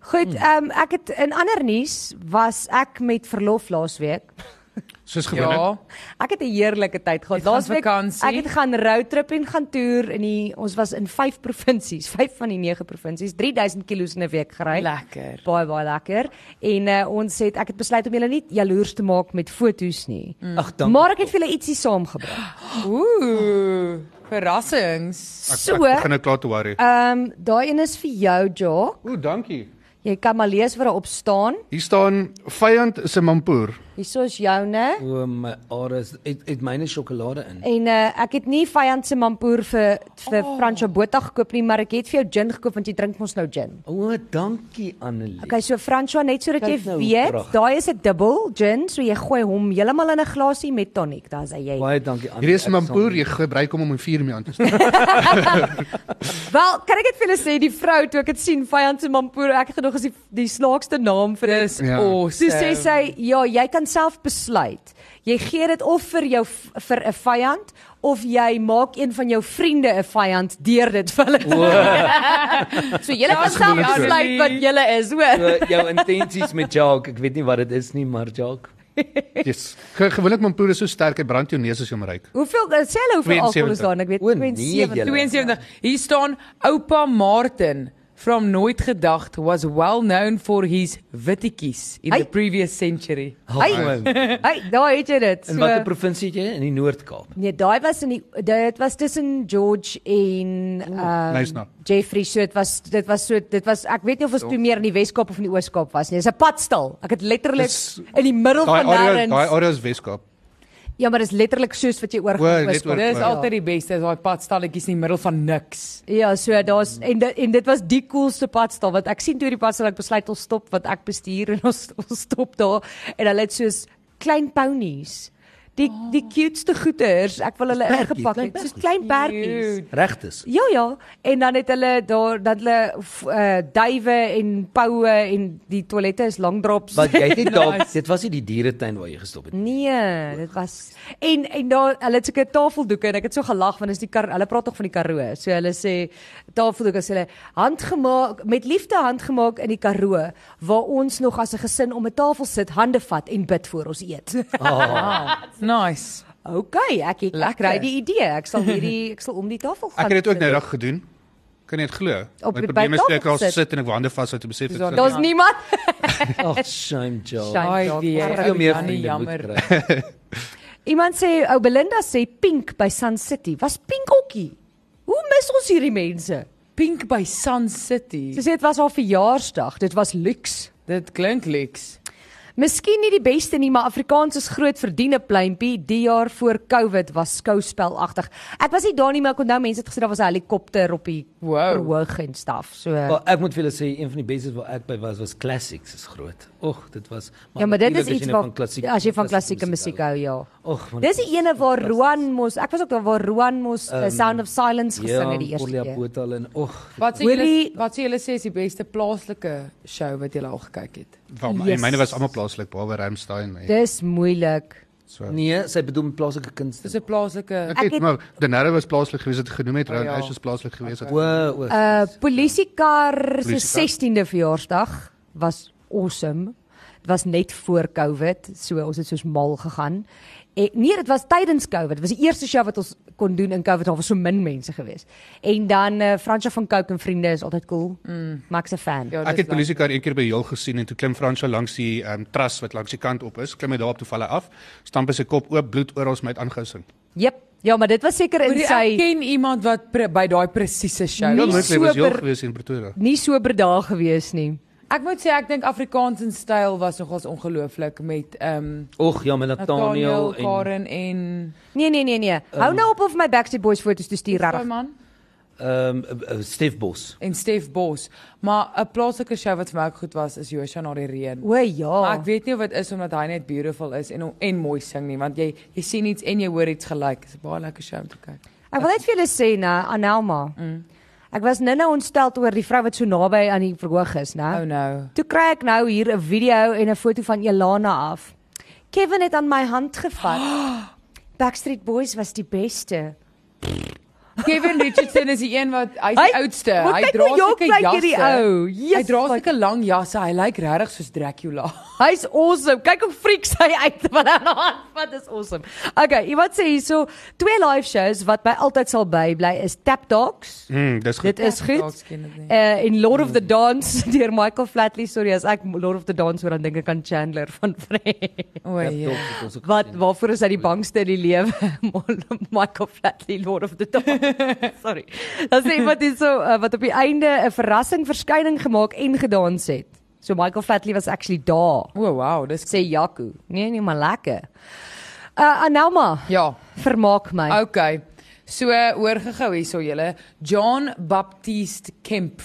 B: Goed, ehm
D: Hmm.
B: ek het in ander nuus was ek met verlof laasweek.
E: soos gewoonlik.
D: Ja.
B: Ek het 'n heerlike tyd gehad.
D: Jy gaan
B: Laasweek
D: vakansie?
B: ek het gaan roadtrip en gaan toer in die ons was in 5 provinsies, 5 van die 9 provinsies, 3000 kilos in 'n week gery.
D: Lekker.
B: Baie baie lekker. En uh, ons het ek het besluit om julle nie jaloers te maak met fotos nie.
E: Mm.
C: ag dankie
B: maar ek het vir julle ietsie saamgebring.
D: Ooh, verrassings.
E: Ek,
B: So,
E: ek
B: ehm
E: begin nou klaar te worry.
B: um, daai een is vir jou, Jock.
E: Ooh, dankie.
B: Jy kan maar lees wat daar op staan.
E: Hier staan vyand is 'n mampoer.
B: Hierso is joune
C: O my ares, het het myne sjokolade
B: en
C: in.
B: uh, ek het nie vyand se mampoer vir vir oh. Franco Botha gekoop nie, maar ek het vir jou gin gekoop want jy drink mos nou gin.
C: O, dankie Annelie.
B: Okay, so Franco net sodat jy
C: Kyk nou hoe
B: weet,
C: pragtig.
B: daai is 'n dubbel gin, so jy gooi hom heeltemal in 'n glasie met tonic, dan sê jy.
C: Baie dankie Annelie.
E: Hierdie is
C: Ek
E: 'n mampoer,
C: sal-
E: jy gebruik hom om 'n vuur mee aan te steek.
B: Wel, kan ek dit vir julle sê die vrou toe ek dit sien vyand se mampoer, ek het genoeg as die, die snaakste naam vir dit.
E: Ja.
B: Toe sê
D: awesome.
B: sy,
C: Ehm.
B: "Ja, jy kan self besluit. Jy gee dit of vir jou v- vir 'n vyand of jy maak een van jou vriende 'n vyand deur dit vir hulle." te gee." so jy
C: Ja,
B: kan self
E: gelukkig.
B: besluit wat jy is, hoor.
C: So, jou intensies met Jacques, ek weet nie wat dit is nie, maar Jacques.
E: Yes. Ge- Gewoonlik mampoer is so sterk, hy brand jou neus as jy hom ruik.
B: Hoeveel sê hulle hoeveel alkohol is
E: 72.
B: daar? in? Ek weet
C: O, nee, julle.
D: 72. Hier staan Oupa Martin from Nooit Gedacht was well known for his wittetjies in
B: Hey.
D: the previous century.
B: Hey. Hey, daar het jy dit.
C: In watter provinsie het jy in die Noord-Kaap?
B: Nee, daai was in die dit was tussen George en ehm
E: nice nou.
B: Jeffrey so dit was dit was so dit was ek weet nie of ons toe meer in die Wes-Kaap of in die Oos-Kaap was nie. Dis 'n padstal. Ek het letterlik
E: Dis-
B: in die middel
E: Daai
B: van
E: area, daai
B: nêrens.
E: area is Weskaap.
B: Ja, maar dis letterlik soos wat jy oor
E: Oor, net
B: Oos-Kaap-
E: oor-
D: Dis
E: Ja.
D: altyd die beste, is daai padstalletjies in die middel van niks.
B: Ja, so daar's en dit, en dit was die coolste padstal wat ek sien toe die padstal ek besluit ons stop want ek bestuur en ons ons stop daar en hulle het soos klein ponies. Die die cuteste goeters. Ek wil hulle
C: Perdjies,
B: ingepak
C: klein
B: het soos klein perdjies.
D: Cute.
C: Regtes.
B: Ja ja, en dan het hulle daar dat hulle f- uh duwe en poue en die toilette is langdrops.
C: Wat jy het nie dalk, dit was nie die dieretuin waar jy gestop het nie.
B: Nee, dit was en en daar hulle het seker tafeldoeke en ek het so gelag want is die kar, hulle praat tog van die Karoo. So hulle sê tafeldoeke sê hulle handgemaak met liefde handgemaak in die Karoo waar ons nog as 'n gesin om 'n tafel sit, hande vat en bid voor ons eet.
D: Nice.
B: OK, ek ek, ek
D: Lekker.
B: kry die idee. Ek sal hierdie ek sal om die tafel gaan.
E: Ek het dit ook
B: sit.
E: nou dag gedoen. Kan jy dit glo?
B: Op
E: My
B: die
E: probleem is toe ek
B: bytafel
E: al
B: sit.
E: sit en ek wou hande vas het om besef
D: Dis waar
E: dit.
B: Daar's niemand.
C: Ag, shame Jacques.
B: Shame.
D: Ai,
B: Jacques,
D: die
B: maar
C: Veel meer vriende
D: Jannie,
C: moet
D: jammer.
C: kry.
B: Iemand sê ou Belinda sê pink by Sun City. Was pink okkie. Hoe mis ons hierdie mense?
D: Pink by Sun City.
B: Sy sê dit was haar verjaarsdag. Dit was luks.
D: Dit klink leks.
B: Miskien nie die beste nie, maar Afrikaans is groot verdiene pleintjie. Die jaar voor COVID was skouspelagtig. Ek was nie daar nie, maar ek onthou mense het gesê daar was 'n helikopter op die
D: Wow.
B: verhoog en staf. So
C: Maar ek moet vir julle sê een van die bestes waar ek by was was Classics is groot. Ogh, dit was
B: Ja, maar dit
C: natuurlik
B: is
C: as jy
B: iets
C: nou
B: wat
C: van klassieke-
B: as jy van klassieke musiek hou, ja.
C: Ogh, man.
B: Dis die ene waar Roan mos, ek was ook daar waar Roan mos um,
C: Ehm, ja,
B: Sound of Silence gesing het die eerste
C: Corlia
B: keer.
C: Botal en ogh,
D: Wat sê
B: Hoorie-
D: julle wat sê julle sê is die beste plaaslike show wat julle al gekyk het?
E: Wel, my,
B: Yes.
E: myne was almal plaaslik behalwe Ramstein. hè.
B: Dis moeilik.
E: So.
C: Nee, sy bedoel met plaaslike kunste.
D: Dis 'n plaaslike
E: Ek
B: Ek
E: het
B: het-
E: maar Denaro was plaaslik geweest, het genoem het Round
D: ja.
E: Ash was plaaslik geweest.
C: O,
E: het-
C: o.
B: Uh polisiekar se
E: Polisiekar.
B: 16de verjaarsdag was awesome. Dit was net voor COVID, so ons het soos mal gegaan. En, nee, dit was tydens COVID. Dit was die eerste show wat ons kon doen in COVID. Daar was so min mense gewees. En dan eh uh, Fransja van Cooke en vriende is altyd cool. Mm. Max 'n fan. Ja.
D: Ja, dis
E: Ek het
D: lekker.
E: polisiekar een keer by Heel gesien en toe klim Fransjo langs die ehm um, tras wat langs die kant op is, klim hy daarop toe val hy af, stamp hy sy kop oop, bloed oral my het aangesing.
B: Jep. Ja, maar dit was seker in
D: Hoorie, Ek
B: sy Nee,
D: ken iemand wat pre, by daai presiese show.
B: Nie
E: Ja, moontlik was Heel
B: sober-
E: geweest in Pretoria.
B: nie sober daag gewees nie.
D: Ek moet sê ek dink Afrikaans in styl was nogals ongelooflik met ehm um,
C: Och, ja, met
D: Nathaniel,
C: Nathaniel en
D: Karen en
B: Nee, nee, nee, nee. Um, Hou nou op of my Backstreet Boys foto's te stuur
D: Sy
B: regtig.
D: man
C: ehm eh, eh, Stef Bos.
D: en Stef Bos. Maar 'n plaaslike show wat vir my ook goed was is Joshua na die reën.
B: O ja.
D: Maar ek weet nie of dit is omdat hy net beautiful is en en mooi sing nie, want jy jy sien iets en jy hoor iets gelyk. Dit is 'n baie lekker show om te kyk.
B: Ek wil net vir julle sê na Anelma. Mm. Ek was nou-nou ontstel oor die vrou wat so naby aan die verhoog is,
D: Oh
B: né?
D: no.
B: Toe kry ek nou hier 'n video en 'n foto van Elana af. Kevin het aan my hand gevat. Backstreet Boys was die beste.
D: Kevin Richardson is die een wat hy is
B: Hy-
D: die oudste.
B: maar
D: Hy
B: kyk
D: dra
B: hoe jonk
D: sulke
B: lyk
D: jasse.
B: hierdie ou.
D: Hy
B: Jesus,
D: dra
B: wat-
D: sulke lang jasse. Hy lyk regtig soos Dracula.
B: Hy's awesome. Kyk hoe freaks hy uit wat aan haar hand vat. Dis awesome. Okay, iemand sê hierso twee live shows wat by altyd sal bybly is Tap Dogs.
E: Mm, dis goed.
B: Dit is goed.
D: Dalk ken dit nie.
B: Uh en Lord of the Dance deur Michael Flatley, sorry as ek Lord of the Dance hoor dan dink ek aan Chandler van Friends.
D: O ja.
B: Wat waarvoor is hy die bangste in die lewe? Michael Flatley Lord of the Dance. Sorry. Dan sê iemand hierso uh, wat op die einde 'n verrassing verskyning gemaak en gedans het. So Michael Fatley was actually daar,
D: O, wow, dis
B: sê Jaco. Nee nee, maar lekker. Uh Anelma,
D: ja.
B: vermaak my.
D: Okay. So hoor gehou hierso julle. John Baptiste Kemp.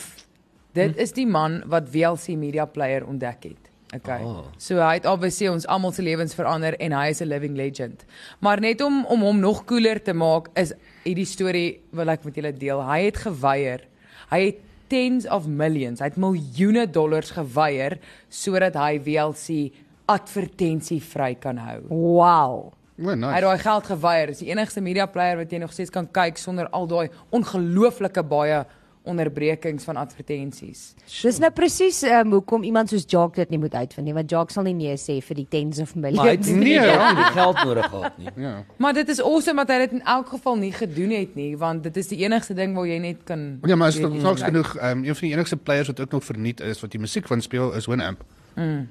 D: Dit is die man wat WLC Media Player ontdek het. Okay.
C: Ah.
D: Oh. So hy het obviously ons almal se lewens verander en hy is 'n living legend. Maar net om om hom nog cooler te maak is hierdie storie wil ek met julle deel. Hy het geweier. Hy het tens of millions, hy het miljoene dollars geweier sodat hy WLC advertensievry kan hou.
B: Wow.
E: O, nice.
D: Hy het daai geld geweier. Dis die enigste media player wat jy nog steeds kan kyk sonder al daai ongelooflike baie onderbrekings van advertensies.
B: Dis nou presies um, hoekom iemand soos Jacques dit nie moet uitvind nie, want Jacques sal nie nee sê vir die tens of
C: Maar hy het
B: millions.
C: nie
E: Nee,
C: die geld nodig gehad nie.
E: Ja.
D: Maar dit is awesome dat hy dit in elk geval nie gedoen het nie, want dit is die enigste ding waar jy net kan
E: Ja, maar is
D: weet jy,
E: nog
D: like,
E: genoeg. Ehm een van die enigste players wat ook nog verniet is wat die musiek van speel is Winamp. Mm.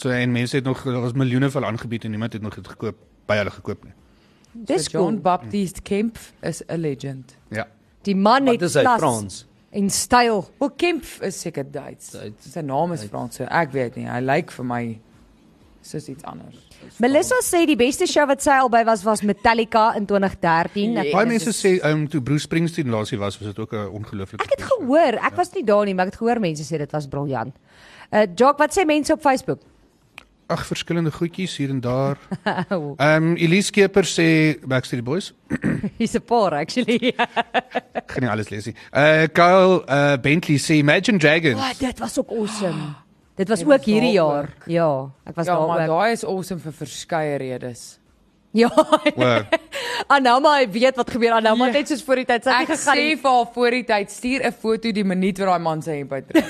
E: So en mense het nog daar was miljoene van aangebied en niemand het nog dit gekoop by hulle gekoop nie.
B: Dis
D: John
B: cool.
D: Baptiste Kemp is 'n legend.
E: Ja.
B: Die man
C: Wat
B: het
C: is hy
B: klas
C: Frans?
B: en styl.
D: Wel Kemp is seker Duits.
C: Duits.
D: Sy naam is Frans, so ek weet nie. Hy lyk vir my soos iets anders.
B: Melissa sê die beste show wat sy al by was was Metallica in 2013. Ek-
D: Ja.
E: Baie
D: dit
E: mense
D: is-
E: sê ehm toe Bruce Springsteen laas hier was was dit ook 'n ongelooflike
B: Ek het gehoor, ek was nie daar nie, maar ek het gehoor mense sê dit was briljant. Uh Jock, wat sê mense op Facebook?
E: ag verskillende goedjies hier en daar. Ehm Elise Skeper sê Backstreet Boys.
B: Hier's 'n paar actually.
E: Ek gaan nie alles lees nie. Eh uh, Kyle uh, Bentley sê Imagine Dragons.
B: Wat, dit was ook awesome. Dit was
D: Jy
B: ook
D: was
B: hierdie
D: daar
B: jaar. Ja, ek was
D: Ja, maar
B: daar ook.
D: daai is awesome vir verskeie redes.
B: Ja,
E: Wow.
B: Anama, hy weet wat gebeur. Anama het
D: Ja.
B: net soos voor die tyd sy
D: Ek
B: het nie gegaan.
D: sê
B: nie.
D: vir haar voor die tyd stuur 'n foto die minuut wat daai man sy hemp uitdra.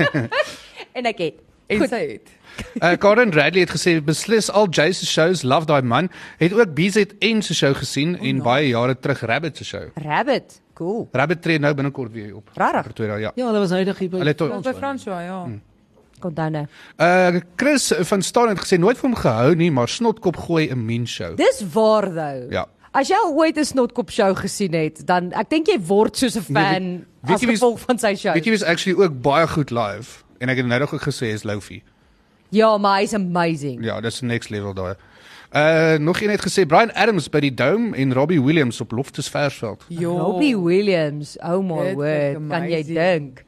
B: en ek het.
D: En sy het.
E: Uh, Karen Radley het gesê beslis al Jay se shows, love daai man. Het ook BZN se show gesien oh, en
B: nou.
E: no. baie jare terug Rabbit se show.
B: Rabbit. Cool.
E: Rabbit tree nou binnekort weer op.
B: Rarig.
E: Pretoria, ja.
C: Ja, hulle was nou net hier by.
E: Hulle het
D: Ons by François, ja.
B: Mm. Kom dan nou.
E: uh Chris van Staan het gesê nooit vir hom gehou nie, maar snotkop gooi 'n mean show.
B: Dis waar though.
E: Ja.
B: As jy al ooit 'n snotkop show gesien het, dan ek dink jy word soos 'n fan
E: Nee,
B: nee,
E: weet- weet
B: as
E: jy wie is-
B: gevolg van sy show.
E: Weet jy wie's actually ook baie goed live en ek het nou nog ook gesê is Loufi.
B: Ja, maar hy's amazing.
E: Ja, dis next level daai. Uh nog een het gesê Brian Adams by die Dome en Robbie Williams op Loftus Versveld.
D: Jo.
B: Robbie Williams, oh my
D: Dit
B: word,
D: klink
B: kan jy
D: amazing.
B: dink?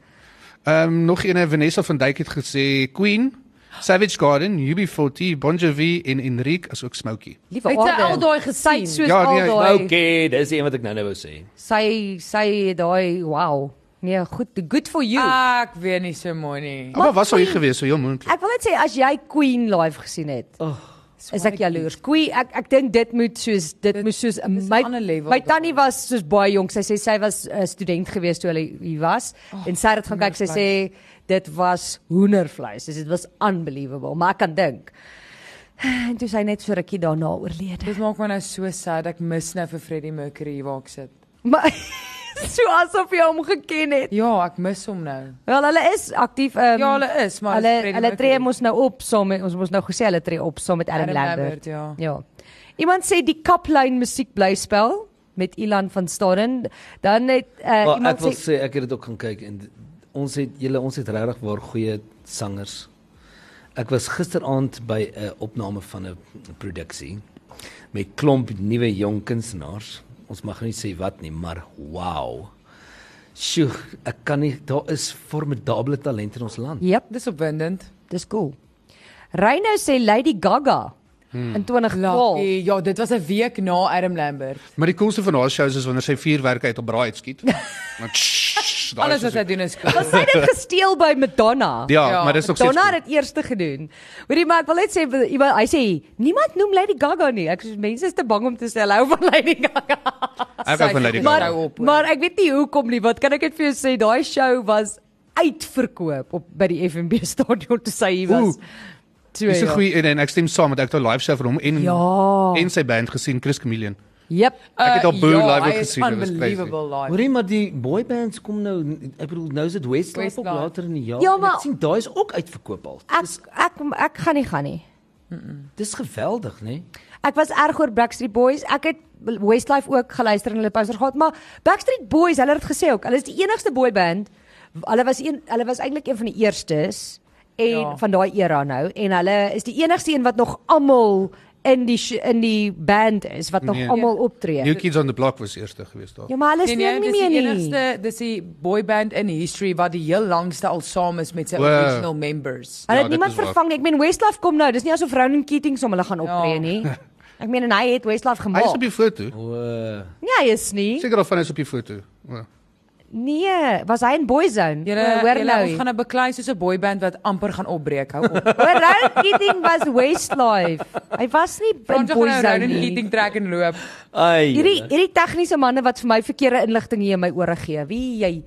E: Ehm um, nog een Vanessa van Dijk het gesê Queen, Savage Garden, UB40, Bon Jovi en Enrique as ook Smokey.
B: Liewe
D: Het sy
B: Aarde.
D: al daai
B: Sy
D: gesien?
B: het soos
E: Ja,
B: al
E: nee,
B: daai.
C: Okay, dis een wat ek nou nou wou sê.
B: Sy sy het daai wow. Nee, goed, good for you. Uh,
D: Ek weet nie so mooi nie.
E: Maar was hy gewees, so heel moontlik.
B: ek wil net sê as jy Queen live gesien het, Oh.
D: Oh,
B: is ek jaloers. Queen, ek ek dink dit moet soos dit, dit
D: Dit-
B: moes soos
D: is 'n
B: my
D: ander level
B: my
D: daai.
B: tannie was soos baie jonk. Sy sê sy was 'n uh, student gewees toe hulle hier was oh, en sy het gaan kyk. Sy sê dit was hoendervleis. Dis dit was unbelievable, maar ek kan dink. En toe sy net so rukkie daarna oorlede.
D: Dit maak my nou so sad. Ek mis nou vir Freddie Mercury hier waar ek sit.
B: Maar so asof jy hom geken het.
D: Ja, ek mis hom nou.
B: Wel, hulle is aktief. Um,
D: Ja, hulle is, maar
B: hulle
D: dis Freddie
B: hulle tree
D: Mercury.
B: mos nou op saam met ons mos nou gesê hulle tree op saam met Adam,
D: Adam
B: Lambert.
D: Lambert, ja.
B: Ja. Iemand sê die kaplyn musiek bly spel met Ilan van Staden. Dan het uh,
C: Maar Ah, ek
B: iemand
C: wil
B: sê
C: sê ek het dit ook gaan kyk en d- ons het julle ons het regtig waar goeie sangers. Ek was gisteraand by 'n opname van 'n produksie met klomp nuwe jong kunstenaars. Ons mag nie sê wat nie, maar wow. Sjoe, ek kan nie daar is formidable talent in ons land.
B: Jep,
D: Dis opwindend.
B: dis cool. Reynou sê Lady Gaga hmm. in 2012.
D: Lucky. Ja, dit was 'n week na Adam Lambert.
E: Maar die koolste van haar shows is wanneer sy vuurwerke uit op braai skiet. Want tss, daar
D: Alles
E: is
D: wat
E: soos-
D: hy doen is cool.
B: Was hy dit gesteel by Madonna?
E: Ja,
D: Ja,
E: maar dis nog steeds
B: Donna het dit eerste gedoen. Hoorie maar ek wil net sê iemand hy sê niemand noem Lady Gaga nie. Ek sê mense is te bang om te sê hulle hou van Lady Gaga.
E: ek hou van Lady
D: Maar-
E: Gaga.
D: op, hoor.
B: maar ek weet nie hoekom nie. Wat kan ek net vir jou sê? Daai show was uitverkoop op by die FNB stadion toe sy hier was. ja.
E: Oeh,
B: Twee
E: Dis 'n
B: jaar.
E: goeie en, en ek stem saam met ek het daai live show van hom en
B: Ja.
E: en sy band gesien Chris Chameleon.
B: Jep.
E: Ek
D: Eh,
E: het al Boo
D: ja,
E: live ook
D: hy is
E: gesien, dit was crazy.
D: Unbelievable live.
C: Hoorie maar die boybands kom nou ek bedoel nou is dit Westlife ook
D: Westlife.
C: later in die jaar.
B: Ja,
C: en
B: maar-
C: ek sien daai is ook uitverkoop al.
B: Eh, Ek
C: Dis
B: ek ek gaan nie gaan nie.
C: dis geweldig, né? Nee?
B: Ek Ek was erg oor Backstreet Boys. Ek het Westlife ook geluister en hulle poster gehad, maar Backstreet Boys, hulle het dit gesê ook. Hulle is die enigste boyband. Hulle was een hulle was eintlik een van die eerstes en
D: Ja.
B: ja. van daai era nou en hulle is die enigste een wat nog almal in die sh- in die band is wat nog
E: Nee.
B: nee. almal optree.
E: New Kids on the Block was eerste gewees daar.
B: Ja, maar hulle is nou nie
D: Nee, nee, dis
B: meer
D: die
B: nie.
D: enigste, dis die boyband in history wat die heel langste al saam is met sy
E: Wow.
D: original members.
B: Hulle
E: Ja,
B: het
E: dit
B: niemand
E: is waar.
B: vervang nie. Ek meen Westlife kom nou. Dis nie asof Ronan Keating som hulle gaan optree
D: Ja.
B: nie. Ek meen en hy het Westlife
E: Hy is op
B: gemaak.
E: die foto.
C: O,
B: Nee, hy is nie.
E: Seker of hy is op die foto. Ja.
B: Nee, was hy in Boyzone?
D: Julle,
B: Uh, hoor
D: julle
B: nou.
D: ons gaan 'n beklei soos 'n boyband wat amper gaan opbreek. Hou op.
B: Hoor Ronan Keating was Westlife. Hy was nie in
D: Ons gaan nou
B: Boyzone
D: Ronan
B: nie.
D: Keating trek en loop.
C: ai.
B: Hierdie hierdie tegniese manne wat vir my verkeerde inligting hier in my ore gee. Wie jy?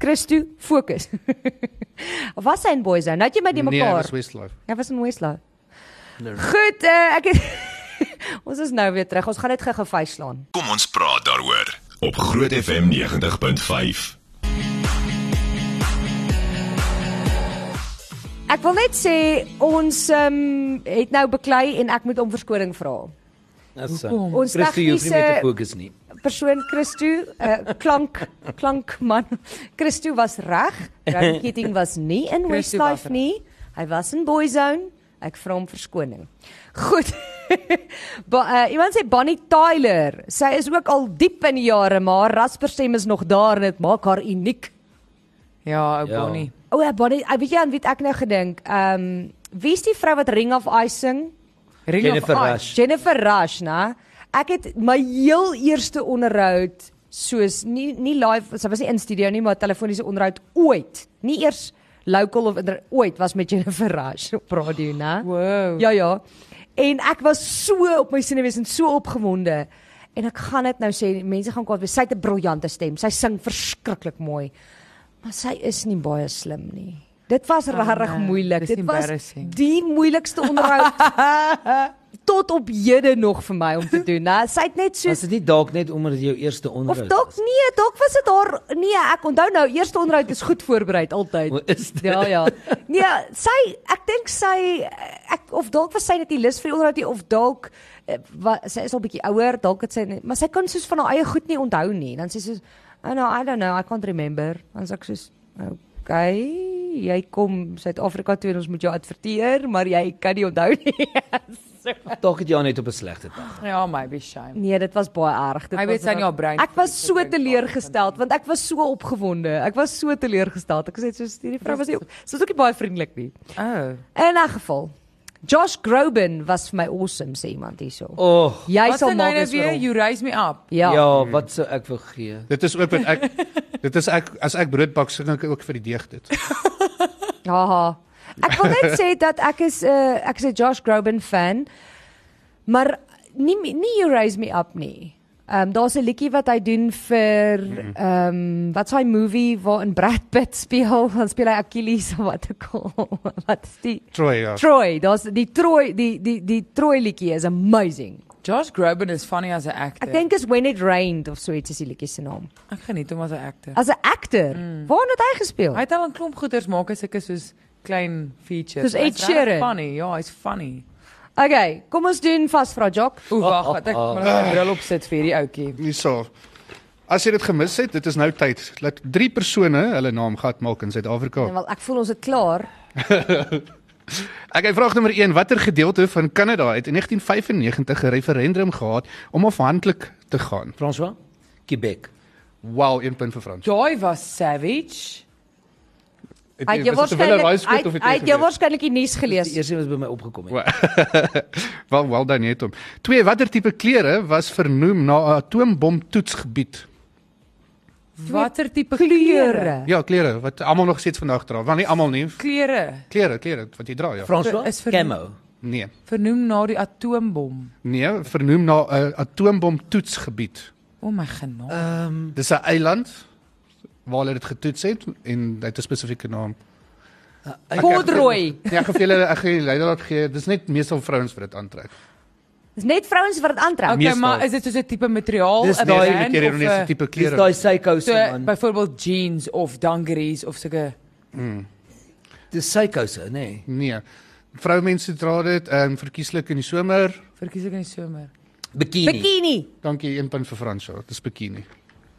B: Christo, fokus. was hy in Boyzone? Nou het jy my die
E: Nee,
B: mekaar.
E: dis Westlife.
B: Hy was in Westlife.
D: Nou.
B: Goed, uh, ek het Ons is nou weer terug. Ons gaan dit gou-gou vyslaan.
A: Kom ons praat daaroor op Groot FM 90.5.
B: Ek wil net sê ons um, het nou beklei en ek moet om verskoning vra.
C: Dis
B: Ons
C: Christo jy hoef nie meer te
B: tegniese
C: fokus nie.
B: persoon Christo, uh, klank klankman Christo was reg. Rowan Keating was nie in
D: Christo was
B: Westlife
D: reg.
B: nie. Hy was in Boyzone. Ek vra hom verskoning. Goed. Ba, uh, iemand sê Bonnie Tyler. Sy is ook al diep in die jare, maar Rasper stem is nog daar en dit maak haar uniek.
D: Ja, ou
C: Ja.
D: Bonnie.
B: O, oh, Bonnie, uh, weet jy aan wie ek nou gedink? Ehm um, wie's die vrou wat Ring of Ice sing?
D: Ring of
C: Jennifer
D: Ice.
C: Rush.
B: Jennifer Rush, né? Ek het my heel eerste onderhoud soos nie nie live, sy was nie in studio nie, maar telefoniese onderhoud ooit. Nie eers local of inter, ooit was met Jennifer Rush op radio, né?
D: Wow.
B: Ja ja. En ek was so op my senuwees en so opgewonde. En ek gaan dit nou sê, mense gaan kwaad wees. Sy het 'n briljante stem. Sy sing verskriklik mooi. Maar sy is nie baie slim nie. Dit was regtig
D: Ah, nee,
B: moeilik.
D: dis
B: Dit was
D: embarrassing.
B: die moeilikste onderhoud tot op hede nog vir my om te doen. Na, sy het net so
C: Was dit nie dalk net omdat dit jou eerste
B: of
C: onderhoud
B: dalk
C: was?
B: nee, dalk was dit haar nee, ek onthou nou, eerste onderhoud is goed voorberei altyd.
C: O, is dit?
B: Ja ja. Nee, sy ek dink sy ek of dalk was sy net nie lus vir die onderhoud nie of dalk eh, wa, sy is al bietjie ouer, dalk het sy net, maar sy kan soos van haar eie goed nie onthou nie. Dan sê sy soos oh no, I don't know, I can't remember. Dan sê ek soos okay, jy kom Suid-Afrika toe en ons moet jou adverteer, maar jy kan nie onthou nie. Ja.
C: Dalk het jy haar net op 'n slegte dag.
D: Ja, maybe shame.
B: Nee, dit was baie erg. Dit
D: Hy
B: was
D: weet sy in
B: reg-
D: haar brein-
B: Ek was so teleurgesteld want ek was so opgewonde. Ek was so teleurgesteld. Ek was net so hierdie vrou was nie sy was ook nie baie vriendelik nie.
D: Oh.
B: In 'n geval. Josh Groban was vir my awesome sê iemand hierso.
C: O, oh,
B: Jy
D: Wat
B: sal
D: sal nou
B: maak
D: nou
B: as
D: weer
B: vir hom.
D: you raise me up.
B: Ja.
C: ja.
B: ja.
C: ja, wat sou ek vergeet?
E: Dit is ook wat ek dit is ek as ek brood bak sing ek ook vir die deeg dit.
B: Haha. Ek wil net sê dat ek is 'n uh, ek is 'n Josh Groban fan. Maar nie nie you raise me up nie. Ehm um, daar's 'n liedjie wat hy doen vir ehm um, wat's hy movie waarin Brad Pitt speel, dan speel hy Achilles of wat ook al. Wat is die
E: Troy ja.
B: Troy, daar's die Troy die die die Troy liedjie is amazing.
D: Josh Groban is funny as 'n actor.
B: Ek dink is When It Rained of so iets is die liedjie se naam.
D: ek geniet hom as 'n actor.
B: As 'n akteur, mm. waarna het hy gespeel?
D: Hy het al 'n klomp goeders maak as ek is soos klein features.
B: Soos Ed
D: Hy's regtig
B: Sheeran.
D: Funny, ja, hy's funny.
B: Okay, kom ons doen vasvra Jock.
D: O, wag, wat ek moet
B: ah.
D: 'n bril opsit vir hierdie ouetjie.
E: Hierso. As jy dit gemis het, dit is nou tyd. Laat drie persone hulle naam gat maak in Suid-Afrika.
B: Ja, wel ek voel ons is klaar.
E: Ek het vraag nommer 1, watter gedeelte van Kanada het in 1995 'n referendum gehad om afhanklik te gaan?
C: François? Quebec.
E: Wow, 1 punt vir Frans.
D: Joy was savage.
B: Hy het jou waarskynlik hy het- hy het jou waarskynlik die nuus
C: Dis die
B: gelees.
C: eerste wat by my opgekom het.
E: Wel, wel dan net hom. 2, watter tipe klere was vernoem na 'n atoombom toetsgebied?
D: Watter tipe kleure?
B: Kleure.
E: Ja, klere wat almal nog steeds vandag dra. Wel nie almal nie.
D: Kleure
E: Klere, klere wat jy dra, ja.
C: François?
D: Is vir-
C: Camo.
E: Nee.
D: vernoem na die atoombom.
E: Nee, vernoem na 'n atoombom toetsgebied.
D: O oh my genade.
C: Ehm um,
E: Dis 'n eiland waar hulle dit getoets het en dit het 'n spesifieke naam.
B: Corduroy.
E: Ja, ek gee vir julle ek gee julle leidraad gee. Dis net meestal vrouens vir dit aantrek.
B: Dis net vrouens wat dit aantrek.
D: Okay,
E: meestal.
D: maar is dit soos 'n tipe materiaal?
C: Dis
D: 'n
C: daai
E: Nee,
D: brand
E: ek keer
D: of
E: hierdie
D: 'n-
E: tipe
C: dis
E: klere.
C: daai psychose
D: So
C: man.
D: byvoorbeeld jeans of dungarees of sulke
C: Dis psychose, nê. Nee.
E: Nee. Vroumense dra dit, ehm verkieslik in die somer.
D: Verkies ek in die somer.
C: Bikini.
B: Bikini.
E: Dankie, 1 punt vir Fransjo. Dis bikini.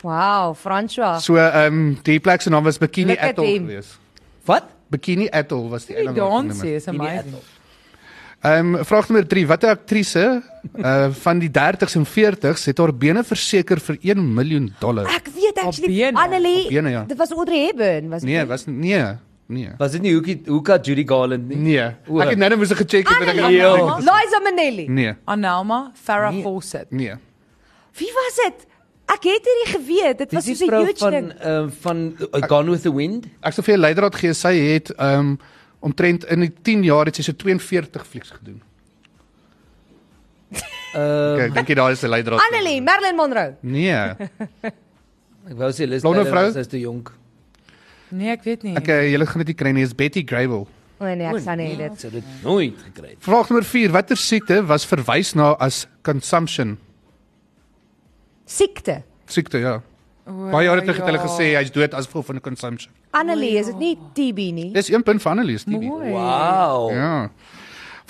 B: Wow,
C: Ah.
B: François.
E: So ehm die plek se naam was Bikini
B: Look at
E: Atoll
B: him.
E: geweest.
C: Wat?
E: Bikini Atoll was die
D: Die
E: eiland. waarvan
D: dans
E: hulle-
D: is amazing.
E: Ehm vraag nommer 3, watter aktrise uh van die 30s en 40s het haar bene verseker vir 1 miljoen dollar?
B: Ek weet actually
D: bene.
B: Annelie.
E: Op bene, ja.
B: Dit was Audrey Hepburn, was
E: Nee,
B: dit nie?
E: was nee, nee.
C: Was dit nie Hoekie Hoeka Judy Garland nie?
E: Nee. Ek het nou net moes gecheck
B: Ah,
E: het ek
B: Annelie.
C: Ja.
E: het-
B: Liza Minnelli.
E: Nee,
D: Annelma Farrah Fawcett.
E: nee.
B: Wie was dit? Ek het hierdie geweet. Dit was
C: Dis die
B: so 'n
C: vrou
B: huge
C: van
B: ding.
C: ehm van uh, Gone with the Wind.
E: Ek sou vir jou leidraad gee, sy het ehm um, omtrent in die 10 jaar het sy so 42 flieks gedoen.
C: Ehm
E: Okay, ek dink jy daai is die leidraad.
B: Annelie, Marilyn Monroe.
E: Nee.
C: ek wou sê Liz
E: Blonde
C: Taylor
E: vrou?
C: was nou te jonk.
D: Nee, ek weet nie.
E: Okay, eh, julle gaan dit nie kry nie, is Betty Grable.
B: O nee, ek sal nie dit.
C: Ja, Sy het dit nooit gekry.
E: Vraag nommer 4, watter siekte was verwys na as consumption?
B: Siekte.
E: Siekte, ja.
D: O,
E: Baie jare terug het hulle
D: ja.
E: gesê hy's dood as gevolg van consumption.
B: Annelie, is dit nie TB nie?
E: Dis 1 punt vir Annelies, Tibi.
D: Mooi.
B: Nee.
C: Wow.
E: Ja.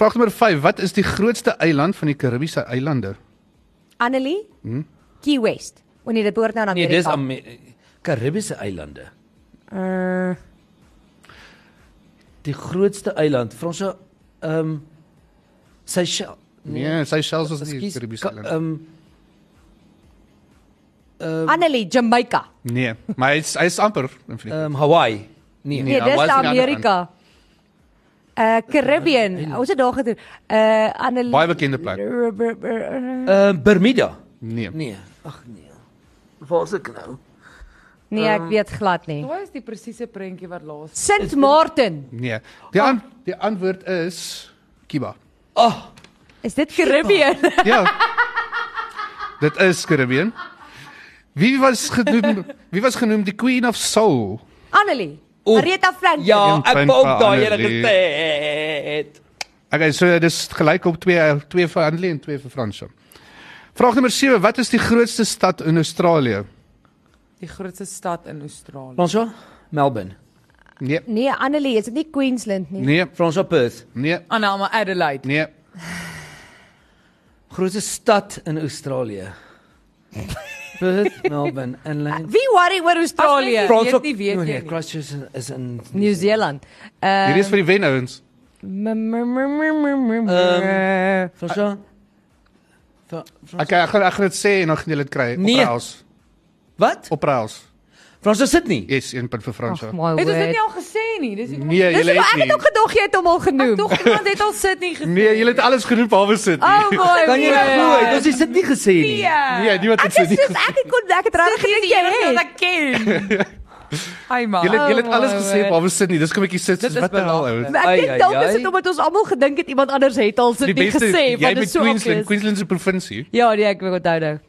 E: Vraag nommer 5, wat is die grootste eiland van die Karibiese eilande?
B: Annelie?
E: Hm?
B: Key West. O nee, dit behoort nou aan
C: Nee,
B: Amerika.
C: dis am Karibiese eilande.
B: Uh,
C: Die grootste eiland. Franse ehm Seychelles.
E: Nee, Seychelles was nie die
C: Excuse,
E: Karibiese
C: ka-
E: eiland.
C: Ehm
B: Eh, Annelie, Jamaica.
E: Nee, maar hy's hy's amper in vir die
C: ehm Hawaii. Nee.
E: Nee.
B: Nee,
E: Ja,
B: dis
E: was nie aan die
B: Amerika. Uh Caribbean. Ons het daar gedoen. Uh Annelie.
E: Baie bekende plek.
B: nee.
C: Ehm Bermuda.
E: Nee.
C: Nee. Ag nee. Waar is ek nou?
B: Nee,
E: Eh.
B: ek weet glad nie.
D: Wat is die presiese prentjie wat laas?
B: Sint Maarten.
E: Nee. Die an die antwoord is Cuba.
C: Ag,
B: Is dit Caribbean?
E: Ja. Dit is Karibië. Wie was genoem wie was genoem die Queen of Soul?
B: Annelie.
C: Oef.
B: Aretha Franklin.
C: ja,
E: Een
C: ek
E: punt
C: wou
E: vir
C: ook daai hele
E: Annelie.
C: gesê.
E: Okay, so eh, dis gelyk op 2 2 vir Handel en 2 vir Fransjo. Vraag nommer 7, wat is die grootste stad in Australië?
D: Die grootste stad in Australië.
C: Fransjo, Melbourne.
E: Nee.
B: Nee, Annelie, is dit nie Queensland nie?
E: Nee,
C: Fransjo Perth.
E: nee,
D: Annelma Adelaide.
E: nee.
C: Grootste stad in Australië. Perth, Melbourne en Lang.
B: Wie worry oor Australië?
D: As mens-
C: Franso-
D: nie, weet jy
C: nee,
D: nie.
C: Christchurch is- is in
B: Nee. Nieu-Seeland. Uh
E: Hierdie is vir die wenouens.
C: Ehm, Fransjo. Fra- Fra-
E: Okay, ek gaan ek gaan dit sê en dan gaan julle dit kry.
C: Nee.
E: Opraals.
C: Wat?
E: Opraals.
C: Fransjo Sydney.
E: Yes, 1 punt vir Fransjo.
B: my
D: Het ons dit nie
B: word.
D: al gesê nie? Dis nie
E: Nee,
B: Dis
E: julle
B: hoe ek
E: het
B: het ook
E: nie.
B: gedog jy het hom al genoem.
D: Tog iemand het al sit nie gesê.
E: Nee, julle het alles genoem behalwe sit.
B: Oh boy.
C: Kan jy nou glo? het Ons het dit nie gesê nie.
E: Nee, nie wat
B: Ek
E: dit sê
B: Ah, is
E: nie.
B: soos ek het kon ek het regtig gedink jy
D: het
B: het.
D: ek ken. Hi man.
E: Julle julle het
D: Oh
E: alles
D: my
E: gesê
D: word.
E: behalwe sit nie. Dis kom ek hier sit.
D: Dit
E: soos
D: is
E: Wat nou die hel
D: belaglik.
E: ouens.
B: Maar
C: Ai,
B: Ek dink
C: ai,
B: dalk is
C: ai.
B: dit omdat ons almal gedink het iemand anders het al
E: Die
B: sit nie
E: beste
B: gesê
E: jy
B: want dit
E: met
B: is so
E: Queensland,
B: obvious.
E: Queensland se provinsie.
B: Ja, nee, ek wil onthou nou.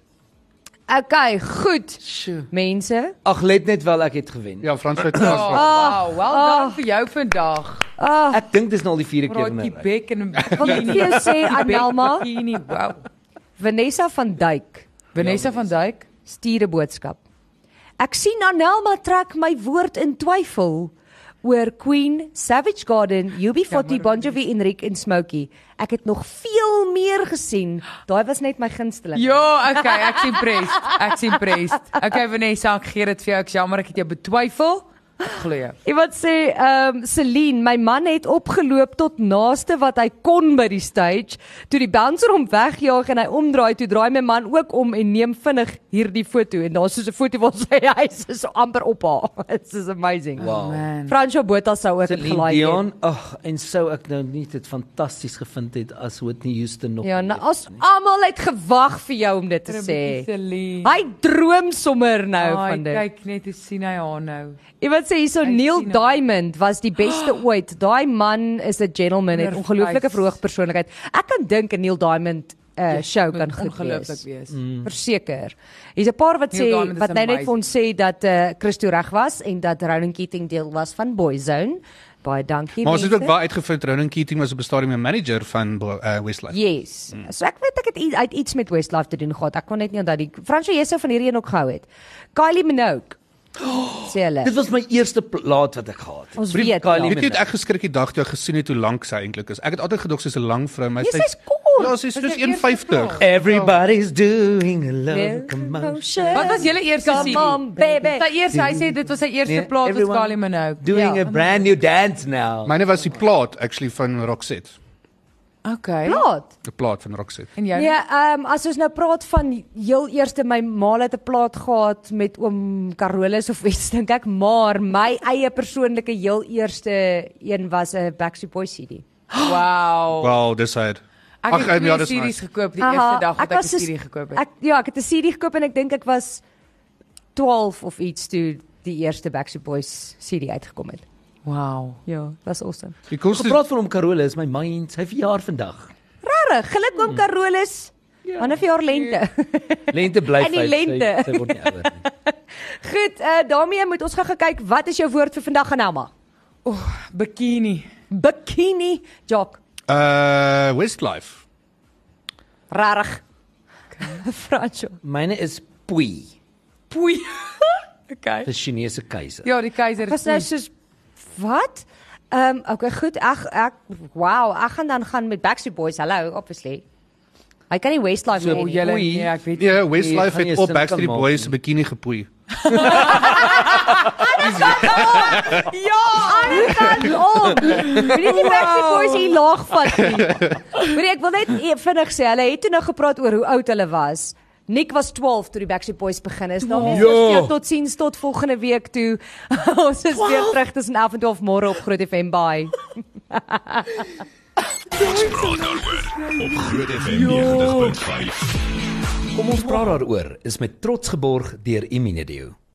B: Okay, goed.
C: Sjoe.
B: Mense.
C: Ag, let net wel ek het gewen.
E: Ja, Frans het
B: Oh,
E: pas.
D: Oh, Wow, well done vir jou vandag.
B: Ah,
C: Ek dink dis nou al die vierde keer
D: Praat die
C: nou.
D: bek en
B: wil net
E: Ja.
B: vir jou sê Annelma,
D: Bikini, wow.
B: Vanessa van Duyk
D: Vanessa van Duyk.
B: stuur 'n boodskap. Ek sien Annelma trek my woord in twyfel oor Queen, Savage Garden, UB40, Bon Jovi, Enrique en Smokey. Ek het nog veel meer gesien. Daai was net my gunsteling.
D: Ja, okay, ek sien pres. Ek sien pres. Okay Vanessa, ek gee dit vir jou. Ek is jammer ek het jou betwyfel. Ek Glo jou.
B: Iemand sê, ehm um, Celine, my man het opgeloop tot naaste wat hy kon by die stage. Toe die bouncer hom wegjaag en hy omdraai, toe draai my man ook om en neem vinnig hierdie foto en daar's so 'n foto waar sy huis is so amper op haar. It's is amazing.
C: Wow.
B: Fransjo Botha sou ook dit
C: Celine
B: gelaai het.
C: Dion, ag, en sou ek nou nie dit fantasties gevind het as Whitney Houston nog.
B: Ja,
C: nie
B: nou
C: leef
B: as
C: nie.
B: almal het gewag vir jou om dit te sê.
D: Celine.
B: Hy droom sommer nou
D: Ai,
B: van dit.
D: kyk net hoe sien hy haar nou.
B: Iemand sê hierso
D: Hy
B: Neil
D: sien nou. hom.
B: Diamond was die beste ooit. Daai man is 'n gentleman, het
D: Nerveus.
B: ongelooflike verhoog persoonlikheid. Ek kan dink 'n Neil Diamond uh show kan
D: Ja, Moet
B: goed
D: ongelooflik
B: wees.
D: wees. Mm.
E: Mm.
B: Verseker. Hier's 'n paar wat
D: Neil
B: sê
D: Diamond is
B: wat nou net
D: amazing.
B: vir ons sê dat uh Christo reg was en dat Ronan Keating deel was van Boyzone. Baie dankie.
E: Maar ons het ook
B: mense.
E: baie uitgevind Ronan Keating was op 'n stadium 'n manager van Bo- eh, Westlife.
B: Ja. Yes. So ek weet ek het i- uit iets met Westlife te doen gehad. Ek kon net nie onthou die Franco Jesu van hierdie een ook gehou het. Kylie Minogue sê hulle.
C: Dit was my eerste plaat wat ek gehad het.
B: Ons weet.
C: Kylie
B: ja.
E: Weet jy wat ek geskrik die dag toe ek gesien het hoe lank sy eintlik is? Ek het altyd gedog sy's 'n lang vrou, maar
B: Jy, sy's kort.
E: Ja, sy's
D: Dis
E: soos
D: jou eerste
E: 1.50.
D: vraag.
C: Everybody's doing
B: Nee.
C: a locomotion.
D: Wat was julle eerste
B: Come
D: CD?
B: on, baby.
D: Sy eers hy sê dit was sy eerste
C: Nee,
D: plaat wat
C: everyone-
D: Kali Minogue.
C: Doing
B: Ja.
C: a brand new dance now.
E: Myne was die plaat actually van Roxette.
D: Okay.
B: Plaat.
E: Die plaat van Roxette.
D: En jy?
B: Nee, ehm um, as ons nou praat van heel eerste my ma het 'n plaat gehad met oom Carolus of iets dink ek, maar my eie persoonlike heel eerste een was 'n Backstreet Boys CD.
D: Wow.
E: Wel, dis hy.
D: Ek het
E: Ag, ja,
D: twee
E: dis
D: series
E: nice.
D: gekoop die eerste dag wat ek
B: was
D: 'n
B: soos-
D: CD gekoop het.
B: Ek ja, ek het 'n CD gekoop en ek dink ek was 12 of iets toe die eerste Backstreet Boys CD uitgekom het.
D: Wow.
B: Ja, was awesome.
E: Die koste
C: Gepraat van hom Karola is my mind, sy verjaar vandag.
B: Regtig, geluk
D: Hmm.
B: oom Carolus.
D: Ja.
B: Wanneer vir jaar lente.
C: Lente bly
B: In die
C: vyf, sy-
B: lente.
C: Sy word nie ouer nie.
B: Goed, eh uh, daarmee moet ons gou-gou kyk wat is jou woord vir vandag Anelma?
D: Bikini.
B: Bikini jock.
E: uh Westlife.
B: Rarig. Fransjo.
C: Myne is Pui,
D: Poei. okay.
C: die Chinese keiser.
D: Ja, die keiser
B: Was
D: is
B: nou
D: poei.
B: soos wat? Ehm um, okay, goed. Ek ek wow, ek gaan dan gaan met Backstreet Boys. Hallo, obviously. Hy kan nie Westlife
C: So,
B: meer
D: O,
B: nie.
D: julle,
C: Poei.
D: nee, ek weet.
E: Nee, Westlife
C: gaan jy
E: het op
C: sin
E: Backstreet
C: kan maak
E: Boys
C: nie.
E: se bikini gepoei.
B: Ja, ek gaan op. Weet jy die Backstreet Boys hier laag vat nie. Weet jy, ek wil net e- vinnig sê, hulle het toe nou gepraat oor hoe oud hulle was. Nick was 12 toe die Backstreet Boys begin is. Nou mense
C: Ja.
B: ja. tot sins tot volgende week toe. ons is weer terug tussen 11 en 12 môre op Groot FM. Bye.
A: Ons praat daaroor op Groot FM 90.5.
C: Kom ons praat daaroor is met trots geborg deur Imunedio.